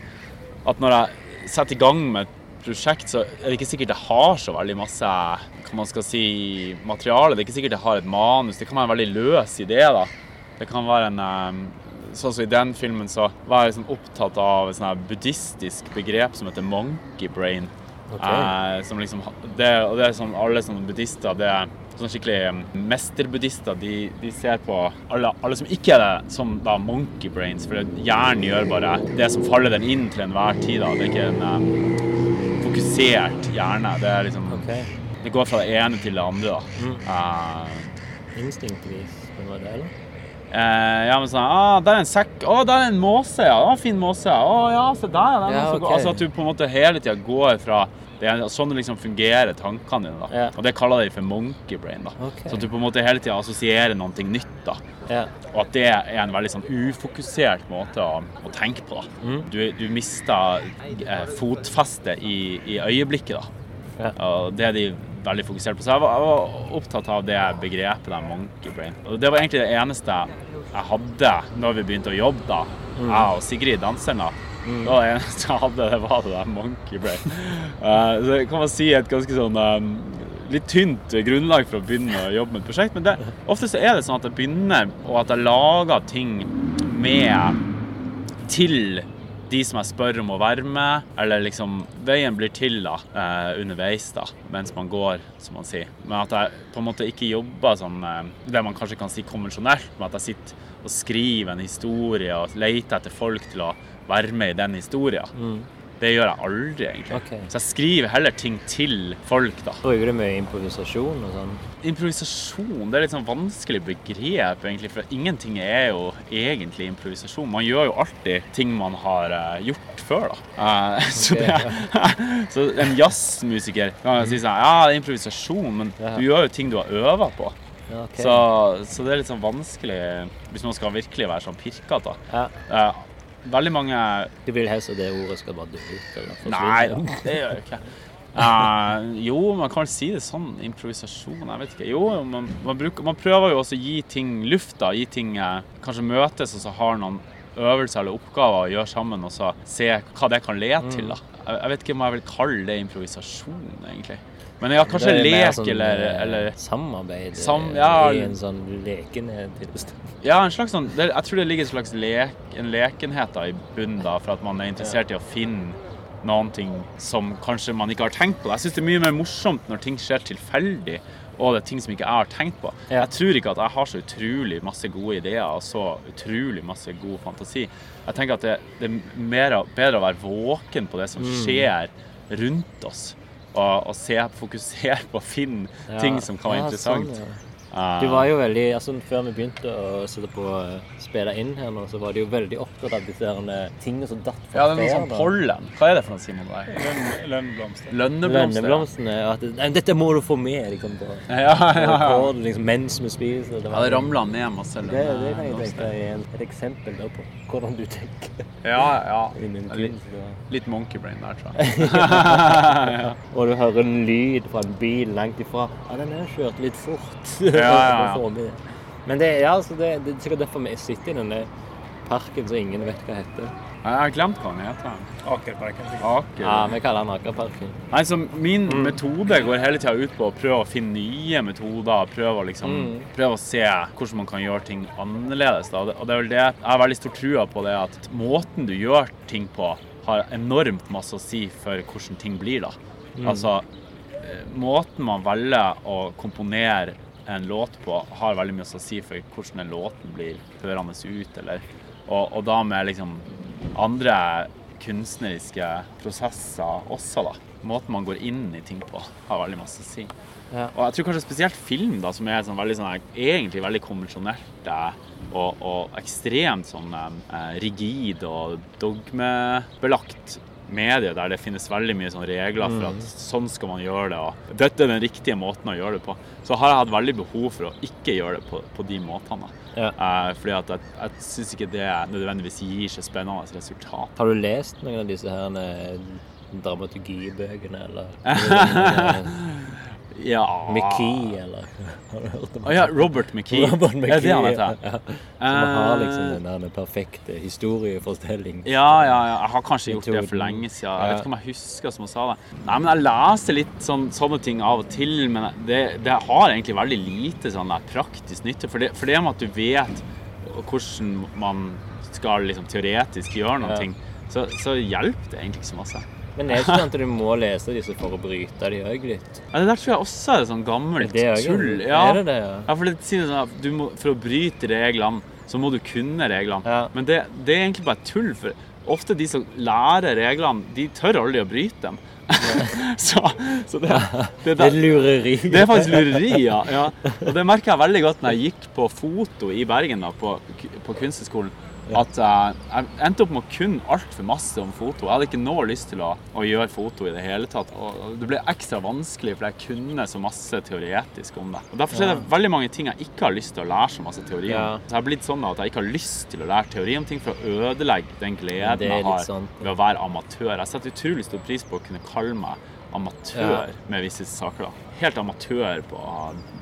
at når jeg setter i gang med et prosjekt, så er det ikke sikkert jeg har så veldig masse hva man skal si, materiale. Det er ikke sikkert jeg har et manus. Det kan være en veldig løs idé, da. Det kan være en eh, Sånn som I den filmen så var jeg liksom opptatt av et sånn her buddhistisk begrep som heter monkey brain. Eh, som liksom, det, og det er sånn alle sånne buddhister det er sånn skikkelig eh, mesterbuddhister. De, de ser på alle, alle som ikke er det, som da monkey brains. For det- hjernen gjør bare det som faller den inn til enhver tid. Da. Det er ikke en eh, fokusert hjerne. Det er liksom ok. Det går fra det ene til det andre, da. Eh, Instinktvis, men var det, eller? Eh, ja, men sånn, ah, der er en sekk, å, der er en måse, ja, ah, fin måse, å, ja, se der, ja, den er Ja, så god. ok. Altså at du på en måte hele tiden går fra, det er sånn det liksom fungerer tankene dine da. Ja. Og det kaller de for monkey brain da. Ok. Så at du på en måte hele tiden assosierer noe nytt da. Ja. Og at det er en veldig sånn ufokusert måte å, å tenke på da. Mm. Du, du mister eh, fotfeste i, i øyeblikket da. Og det er de veldig fokusert på. Så jeg var, jeg var opptatt av det begrepet der, monkey brain. Og det var egentlig det eneste jeg hadde når vi begynte å jobbe, da. Jeg og Sigrid, danseren, da. Det var det eneste jeg hadde, det var det der monkey brain. Eh, så det kan man si er et ganske sånn eh, litt tynt grunnlag for å begynne å jobbe med et prosjekt. Men det, ofte så er det sånn at jeg begynner, og at jeg lager ting med til de som jeg spør om å være med, eller liksom Veien blir til da, eh, underveis, da, mens man går, som man sier. Men at jeg på en måte ikke jobber sånn eh, det man kanskje kan si konvensjonelt, men at jeg sitter og skriver en historie og leter etter folk til å være med i den historien. Det gjør jeg aldri, egentlig. Ok. Så jeg skriver heller ting til folk, da. Bruker du mye improvisasjon og sånn? Improvisasjon det er litt sånn vanskelig begrep, egentlig, for ingenting er jo egentlig improvisasjon. Man gjør jo alltid ting man har eh, gjort før, da. Eh, [LAUGHS] så, det, [LAUGHS] så en jazzmusiker kan jo si sånn Ja, det er improvisasjon, men Ja. du gjør jo ting du har øva på. Ja, ok. Så, så det er litt sånn vanskelig hvis man skal virkelig være sånn pirkete. Ja. Eh, veldig mange Du vil helst at det ordet skal bare dø ut? Eller Nei, forsvinne? det gjør jeg ikke. Eh, jo, man kan vel si det sånn. Improvisasjon, jeg vet ikke. Jo, man, man, bruker, man prøver jo også å gi ting luft, da. Gi ting eh, Kanskje møtes og så har noen øvelser eller oppgaver å gjøre sammen, og så se hva det kan Mm. lede til, da. Jeg, jeg vet ikke om jeg vil kalle det improvisasjon, egentlig. Men ja, kanskje Det er mer lek sånn, eller, eh, eller Samarbeid eh, Sam- ja. i en sånn lekende tilstand. Ja, en slags sånn, det, jeg tror det ligger en slags lek, en lekenhet da, i bunnen da, for at man er interessert i å finne noen ting som kanskje man ikke har tenkt på. Jeg synes det er mye mer morsomt når ting skjer tilfeldig, og det er ting som ikke jeg har tenkt på. Ja. Jeg tror ikke at jeg har så utrolig masse gode ideer og så utrolig masse god fantasi. Jeg tenker at det, det er mer, bedre å være våken på det som Mm. skjer rundt oss, og, og se, fokusere på å finne Ja. ting som kan være Ja, interessant. sånn, ja. Eh, Du var jo veldig, altså Før vi begynte å sitte på eh, spille inn her nå, så var du jo veldig opptatt av disse herne tingene som datt ja, fra det er noe sånn da. pollen. Hva er det for noe, Simon? Der? Lønn- Lønnblomster. Lønneblomster. Lønneblomstene. og At det, nei, dette må du få med liksom, på Ja, [LAUGHS] ja, på ja. rekorden, liksom, mens vi spiser. Det, Ja, det ramla ned masse det, det kan jeg lønneblomster. tenke er en- et eksempel da, på hvordan du tenker. Ja, i min ja. Litt, kunst. da. litt monkeybrain der, tror [LAUGHS] jeg. Og du hører en lyd fra en bil langt ifra. Ja, den er kjørt litt fort. [LAUGHS] ja, ja. Så får vi det. Men det, ja, altså, det, det er sikkert derfor vi sitter i denne parken som ingen vet hva heter. Jeg har glemt hva den heter. Akerparken. sikkert. Aker. Ja, vi kaller den Akerparken. Nei, så Min Mm. metode går hele tida ut på å prøve å finne nye metoder. Prøve å, liksom, Mm. prøve å se hvordan man kan gjøre ting annerledes. Da. Og det- Og det er vel det, Jeg har veldig stor trua på det at måten du gjør ting på, har enormt masse å si for hvordan ting blir. da. Mm. Altså, eh, Måten man velger å komponere en låt på, har veldig mye å si for hvordan den låten blir hørende ut. eller... Og, og da med liksom andre kunstneriske prosesser også, da. Måten man går inn i ting på, har veldig masse å si. Ja. Og jeg tror kanskje spesielt film, da, som er sånn veldig sånn, her- egentlig veldig konvensjonelt eh, og, og ekstremt sånn eh, rigid og dogmebelagt medie der det finnes veldig mye sånn regler Mm. for at sånn skal man gjøre det, og dette er den riktige måten å gjøre det på. Så har jeg hatt veldig behov for å ikke gjøre det på, på de måtene. da. Ja. Eh, fordi at jeg, jeg syns ikke det nødvendigvis gir så spennende resultat. Har du lest noen av disse her eh, dramaturgibøkene, [LAUGHS] eller eh, Ja McKee, eller Har du hørt om Å ja, Robert McKee. Robert Er det McKee, han ja. heter? Ja. Som har liksom Eh, den der perfekte historiefortelling. Ja, ja, ja. Jeg har kanskje gjort det for Metoden. lenge siden. Jeg Ja. vet ikke om jeg husker som jeg sa det. Nei, men jeg leser litt sånn, sånne ting av og til, men det, det har egentlig veldig lite sånn der praktisk nytte. For det, for det med at du vet hvordan man skal liksom teoretisk gjøre noen Ja. ting, så, så hjelper det egentlig ikke så masse. Men er det ikke sånn at du må lese disse for å bryte de òg litt? Ja, det der tror jeg også er sånn gammelt Det er jo- tull. er det det, ja? ja for, det, sier sånn, at du må, for å bryte reglene, så må du kunne reglene. Ja. Men det, det er egentlig bare tull. For ofte de som lærer reglene, de tør aldri å bryte dem. [LAUGHS] så så det, det, Det der- er lureri. [LAUGHS] det er faktisk lureri, ja. ja. Og det merka jeg veldig godt når jeg gikk på foto i Bergen, da, på, på kunsthøgskolen. At eh, jeg endte opp med å kunne altfor masse om foto. Jeg hadde ikke noe lyst til å, å gjøre foto i det hele tatt. Og og det ble ekstra vanskelig, for jeg kunne så masse teoretisk om det. Og Derfor er det veldig mange ting jeg ikke har lyst til å lære så masse teori om. Ja. Så jeg har blitt sånn da, at jeg ikke har lyst til å lære teori om ting for å ødelegge den gleden Det er jeg litt sånn. har sant. ved å være amatør. Jeg setter utrolig stor pris på å kunne kalle meg amatør Ja. med visse saker. da. Helt amatør på,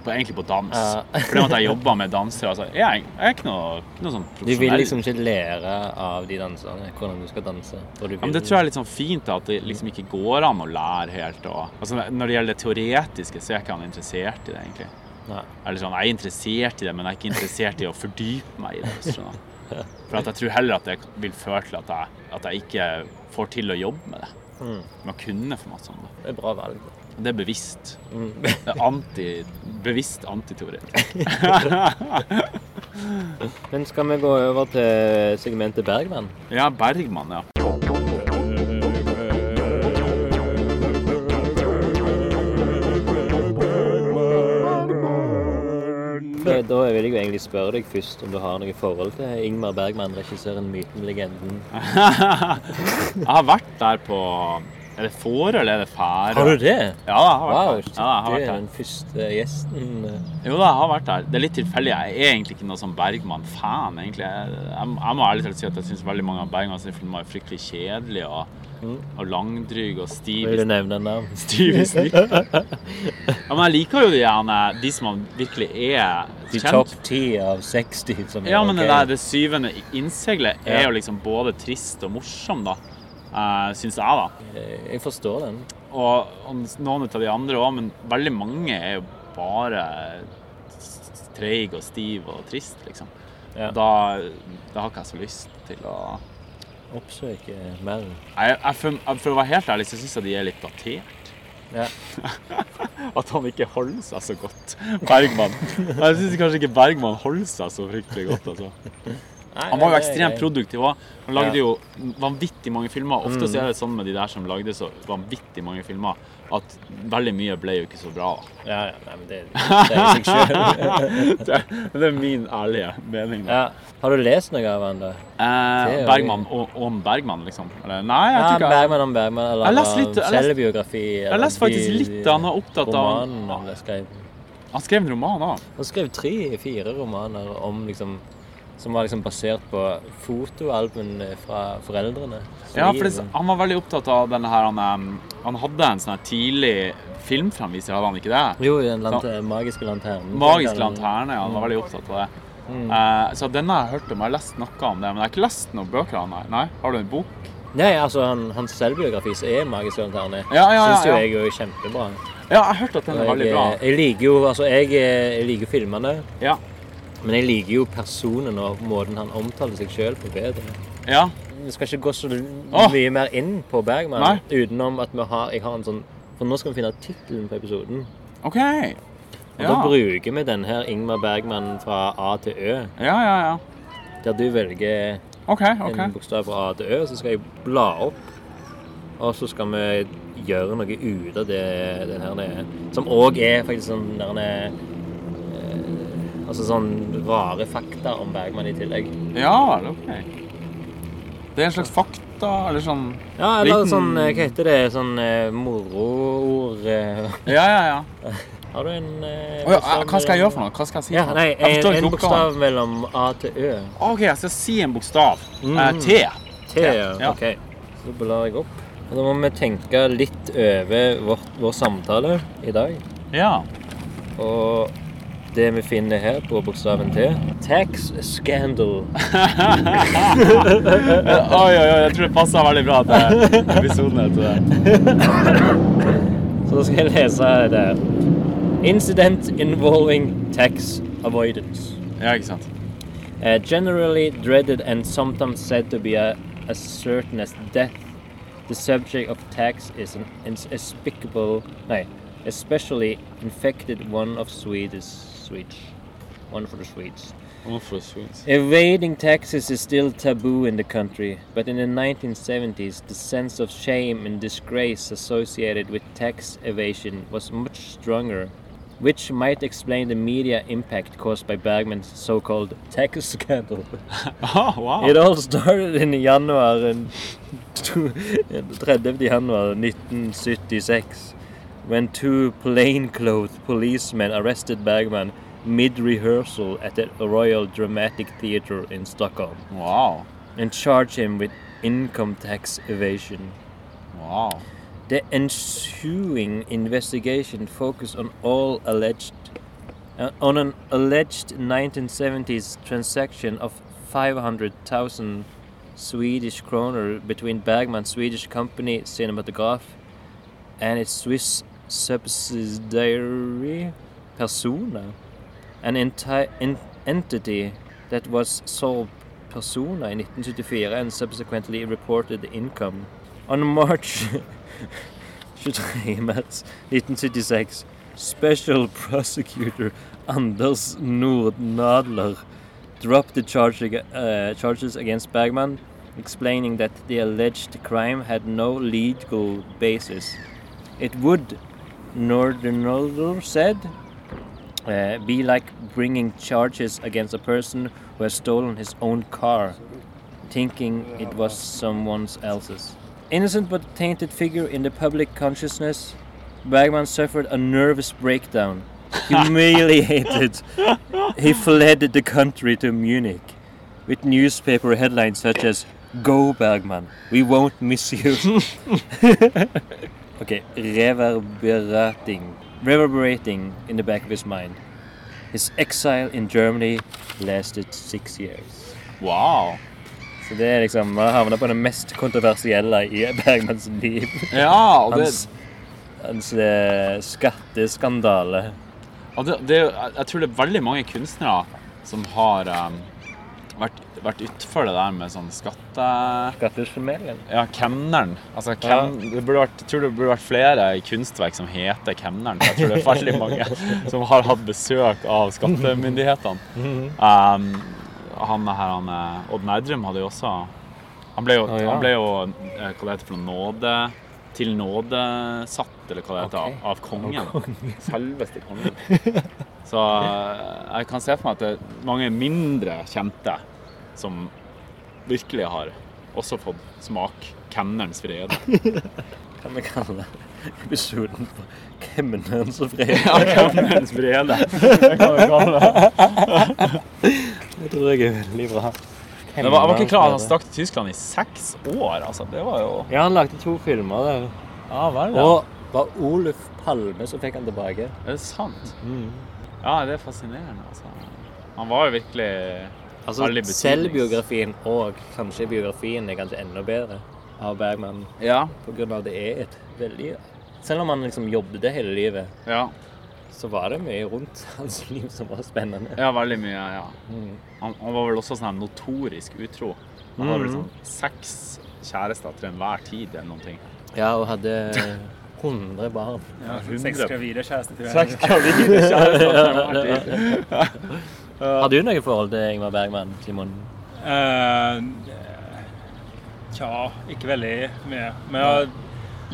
på egentlig på dans. Ja. Fordi at jeg jobber med dansere. Altså, jeg, er- jeg er ikke noe, ikke noe sånn Du vil profesjonell. liksom ikke lære av de danserne hvordan du skal danse. Og du Ja, men det tror jeg er litt sånn fint, da, at det liksom ikke går an å lære helt. Og, altså, når det gjelder det teoretiske, så er jeg ikke han interessert i det, egentlig. Nei. [LAUGHS] Eller sånn, Jeg er interessert i det, men jeg er ikke interessert i å fordype meg i det. hvis du skjønner. For at jeg tror heller at det vil føre til at jeg, at jeg ikke får til å jobbe med det. Mm. Med å kunne for masse om det. Det er bra valg. Det er bevisst. Mm. Det er anti, bevisst antiteoretisk. [LAUGHS] Men skal vi gå over til segmentet Bergman? Ja, Bergman, ja. [LAUGHS] Eh, Da vil jeg jo egentlig spørre deg først om du har noe forhold til Ingmar Bergman, regissøren, myten, legenden. Jeg har vært der på Er det Fårö eller er det Færøy? Har du det? Ja, jeg har Wow, vært shit, der. Ja, jeg har du vært er der. den første gjesten. eh, Jo da, jeg har vært der. Det er litt tilfeldig. Jeg er egentlig ikke noe sånn Bergman-fan, egentlig. Jeg, jeg, jeg må ærlig talt si at jeg syns veldig mange av Bergman sine filmer er fryktelig kjedelige og, Mm. og langdryge og Vil stive du nevne [LAUGHS] navn? stiv i snippen. Ja, men jeg liker jo de, gjerne, de som virkelig er De kjent. topp ti av 60 som er Ja, men det, ok. der, det syvende innseilet Ja. er jo liksom både trist og morsom, da. Uh, syns jeg, da. Eh, Jeg forstår den. Og, og noen av de andre òg, men veldig mange er jo bare treig og stiv og trist, liksom. Ja. Da, da har ikke jeg så lyst til å Oppsøke mer. jeg, jeg, for, jeg, for å være helt ærlig så syns jeg de er litt datert. Ja. [LAUGHS] At han ikke holder seg så godt, Bergman. Jeg syns kanskje ikke Bergman holder seg så fryktelig godt, altså. Han var jo ekstremt produktiv òg. Han lagde Ja. jo vanvittig mange filmer. Ofte så er det sånn med de der som lagde så vanvittig mange filmer, at veldig mye ble jo ikke så bra. da. Ja, ja, nei, men det, det er seg selv. [LAUGHS] det, det er min ærlige mening. da. Ja. Har du lest noe av han da? Eh, Det er jo- Bergman og, om Bergman, liksom? Eller, nei, jeg Ja, tror ikke jeg Bergman om Bergman, eller Jeg leste litt- jeg leste- selvbiografi. Jeg leste faktisk litt da han var opptatt av Romanen han skrev. Han skrev en roman òg. Han skrev tre-fire romaner om liksom som var liksom basert på fotoalbumene fra foreldrene. liksom- Ja, for det, han var veldig opptatt av denne her Han, em, han hadde en sånn her tidlig filmfremviser, hadde han ikke det? Jo, den lante, magiske lanternen. Magisk lanterne, ja. Han var veldig opptatt av det. Eh, så denne har jeg hørt om, jeg har lest noe om det, men jeg har ikke lest noen bøker av den. Nei, har du en bok? Nei, altså, han, hans selvbiografi som er en magisk lanterne, Ja, ja, ja, syns jo ja. jeg er jo kjempebra. Ja, jeg har hørt at den er Og veldig Jeg, bra. jeg liker jo altså, jeg, jeg liker filmene, Ja. men jeg liker jo personen og måten han omtaler seg sjøl på bedre. ja. Vi skal ikke gå så Åh! mye mer inn på Bergman Nei. utenom at vi har, jeg har en sånn For nå skal vi finne tittelen på episoden. OK. Og Ja. Da bruker vi den her Ingmar Bergman fra A til Ø. Ja, ja, ja. Der du velger OK. en ok. bokstav fra A til Ø, så skal jeg bla opp. Og så skal vi gjøre noe ut av det, det her det er. Som òg er faktisk sånn der det er, eh, Altså sånn rare fakta om Bergman i tillegg. Ja vel, ok. Det er en slags fakta, eller sånn Ja, eller Liten- sånn eh, Hva heter det? Sånn eh, moroord eh. Ja, ja, ja. Har du en eh, Å ja, bokstav hva skal jeg mellom- gjøre for noe? Hva skal jeg si? Ja, for noe? nei, jeg en, forstår en ikke oppgaven. bokstav mellom A til Ø. OK, jeg skal si en bokstav. Eh, Mm. T. T, Ja. ja. OK. Så blar jeg opp. Og da må vi tenke litt over vårt, vår samtale i dag. Ja. Og det vi finner her på bokstaven T Tax scandal. Eh, Oi, oi, oi, jeg tror det passer veldig bra til episoden etter det. Så da skal jeg lese det. her. Incident involving tax avoidance. [LAUGHS] Ja, ikke sant. Uh, generally dreaded and sometimes said to be a, as certain as death, the subject of tax is an inexplicable, no, especially infected one of Swedish, Swedish, one for the Swedes. Evading taxes is still taboo in the country, but in the 1970s, the sense of shame and disgrace associated with tax evasion was much stronger, which might explain the media impact caused by Bergman's so called tax [LAUGHS] scandal. Ah, [LAUGHS] wow. It all started in Januar in 30 Januar 1976 when two plainclothes policemen arrested Bergman mid rehearsal at the Royal Dramatic Theatre in Stockholm Wow. and charged him with income tax evasion. Wow. The ensuing investigation focused on all alleged uh, on an alleged 1970s transaction of 500,000 Swedish kroner between Bergman's Swedish company Cinematograph and its Swiss subsidiary Persona, an enti- en- entity that was sole personer i 1974 and subsequently reported income. On March 23 mars 1976, Special Prosecutor Anders Nordnadler dropped the charge, ag- uh, charges against Bergman, explaining that the alleged crime had no legal basis. It would, Nordnadler said, uh, be like bringing charges against a person who has stolen his own car, thinking it was someone else's. Innocent but tainted figure in the public consciousness, Bergman suffered a nervous breakdown. Humiliated, he fled the country to Munich with newspaper headlines such as Go Bergman, we won't miss you. Okay, reverberating. Reverberating in the back of his mind. His exile in Germany lasted six years. Wow. Så det er liksom Han havna på det mest kontroversielle i Bergmans liv. Ja, og det, Hans, hans eh, skatteskandale. og det, det er jo- jeg- Jeg tror det er veldig mange kunstnere som har em, vært, vært utfor det der med sånn skatte... Skattefamilien. Ja, kemneren. Altså, kem, det burde vært, jeg tror det burde vært flere kunstverk som heter Kemneren. for Jeg tror det er [LAUGHS] veldig mange som har hatt besøk av skattemyndighetene. Mhm. Um, han her, han, eh, Odd Nerdrum hadde jo også Han ble jo, Å, ja. han ble jo eh, hva det heter for noe, nåde til nåde satt, eller hva det heter, Ok. av, av kongen. [LAUGHS] Selveste kongen. Så eh, jeg kan se for meg at det er mange mindre kjente som virkelig har også fått smak kemnerens vrede. Kan vi kalle episoden for Kemnerens og Fred? [LAUGHS] Ja, kemnerens vrede. [LAUGHS] Det kan vi kalle det. Det tror jeg er veldig bra. Det var, jeg var ikke klar over at han stakk til Tyskland i seks år, altså. Det var jo Ja, han lagde to filmer der. Ja vel, ja. Og var Oluf Palme som fikk han tilbake. Er det sant? Ja, det er fascinerende, altså. Han var jo virkelig Veldig Altså, betydnings- Selvbiografien og kanskje biografien er kanskje enda bedre av Bergman. Ja. På grunn av det er et veldig Selv om han liksom jobbet hele livet, ja. så var det mye rundt [LAUGHS] hans liv som var spennende. Ja, veldig mye, ja. Han, han var vel også sånn her notorisk utro. Han hadde vel sånn seks kjærester til enhver tid eller noen ting. Ja, og hadde 100 barn. Ja, Seks gravide kjærester til Seks hverandre. gravide kjærester til enhver tid. [LAUGHS] Har du noe forhold til Ingmar Bergman, Simon? Eh, Tja, ikke veldig mye. Men jeg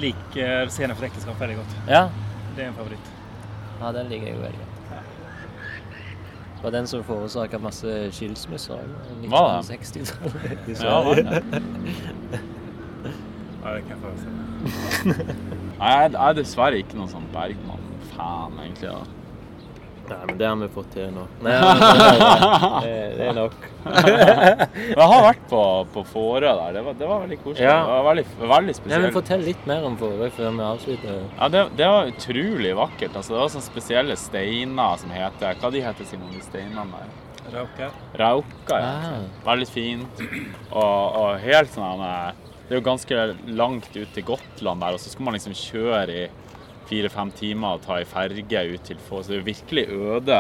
liker scenen for ekteskap veldig godt. Ja? Det er en favoritt. ja den liker jeg jo veldig godt. Det var den som forårsaka masse skilsmisser i Var 1960-tallet. i Ja, Sverige. var det? Ja, det kan jeg forestille meg. Nei, jeg jeg er dessverre ikke noen sånn Bergman-fan, egentlig. da. Nei, men det har vi fått til nå. [LAUGHS] Nei, det, er- det er nok. Men jeg har vært på, på Fårö der. Det var, det var veldig koselig. Ja. Det var veldig, veldig Nei, men spesielt. Fortell litt mer om Forøy før vi avslutter. Ja, det, det var utrolig vakkert. altså. Det var sånne spesielle steiner som heter Hva de heter Simon, de steinene der? Rauka. Rauka, ja. Ah. Veldig fint. Og, og helt sånn eh, Det er jo ganske langt ut til Gotland der, og så skal man liksom kjøre i fire-fem timer og ta ei ferge ut til Få. Så det er jo virkelig øde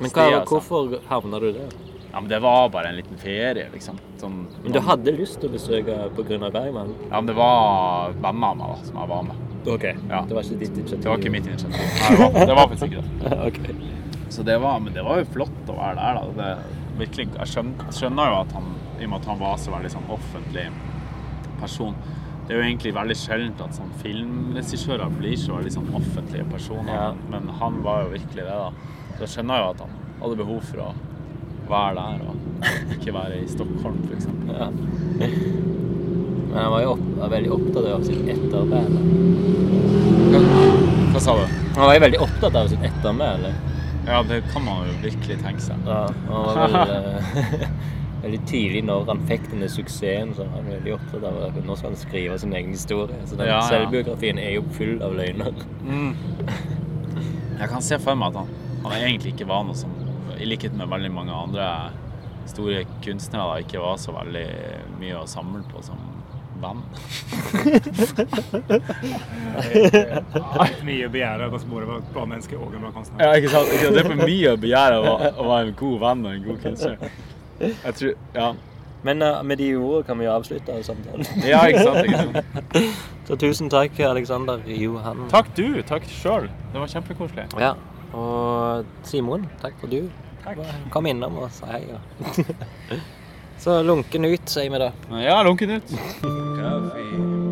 Men steder, hva, sånn. hvorfor havna du der? Ja, men det var bare en liten ferie, liksom. Sånn, Men du hadde lyst til å besøke pga. Bergman? Ja, men det var vennene av meg da, som jeg var med. OK. Ja. Det var ikke ditt initiativ? Det var ikke mitt initiativ. Nei, det var, det var faktisk ikke det. [LAUGHS] Ok. Så det var, men det var jo flott å være der, da. Det, virkelig, jeg skjønner, skjønner jo at han, i og med at han var så veldig sånn offentlig person Det er jo egentlig veldig sjeldent at sånn filmregissører blir så veldig sånn offentlige personer, Ja. men han var jo virkelig det, da. Så jeg skjønner jo at han hadde behov for å være der og ikke være i Stockholm, for eksempel. Ja. Men han var jo opp, var veldig opptatt av sitt ettermæle. Hva sa du? Han var jo veldig opptatt av sitt ettermæle. Ja, det kan man jo virkelig tenke seg. Ja, han var vel, eh, [LAUGHS] [LAUGHS] veldig tidlig når han fikk denne suksessen, så var han veldig opptatt av at nå skal han skrive sin egen historie. Så den Ja, ja. selvbiografien er jo full av løgner. Jeg kan se for meg at han, han egentlig ikke var noe som I likhet med veldig mange andre store kunstnere da, ikke var så veldig mye å samle på som band. Mye å begjære hos både å være et bra menneske og en bra kunstner. Ja, ikke sant? Det er for mye å begjære å, være en god venn og en god kunstner. Jeg tror, ja. Men eh, med de ordene kan vi jo avslutte [LAUGHS] samtalen. Ja, ikke sant? Ikke sant? Så tusen takk, Alexander Johan. Takk du. Takk sjøl. Det var kjempekoselig. Ja. Og Simon, takk for du. Takk. Kom innom og si hei. [LAUGHS] og- Så lunken ut, sier vi da. Ja, lunken ut. Kaffe,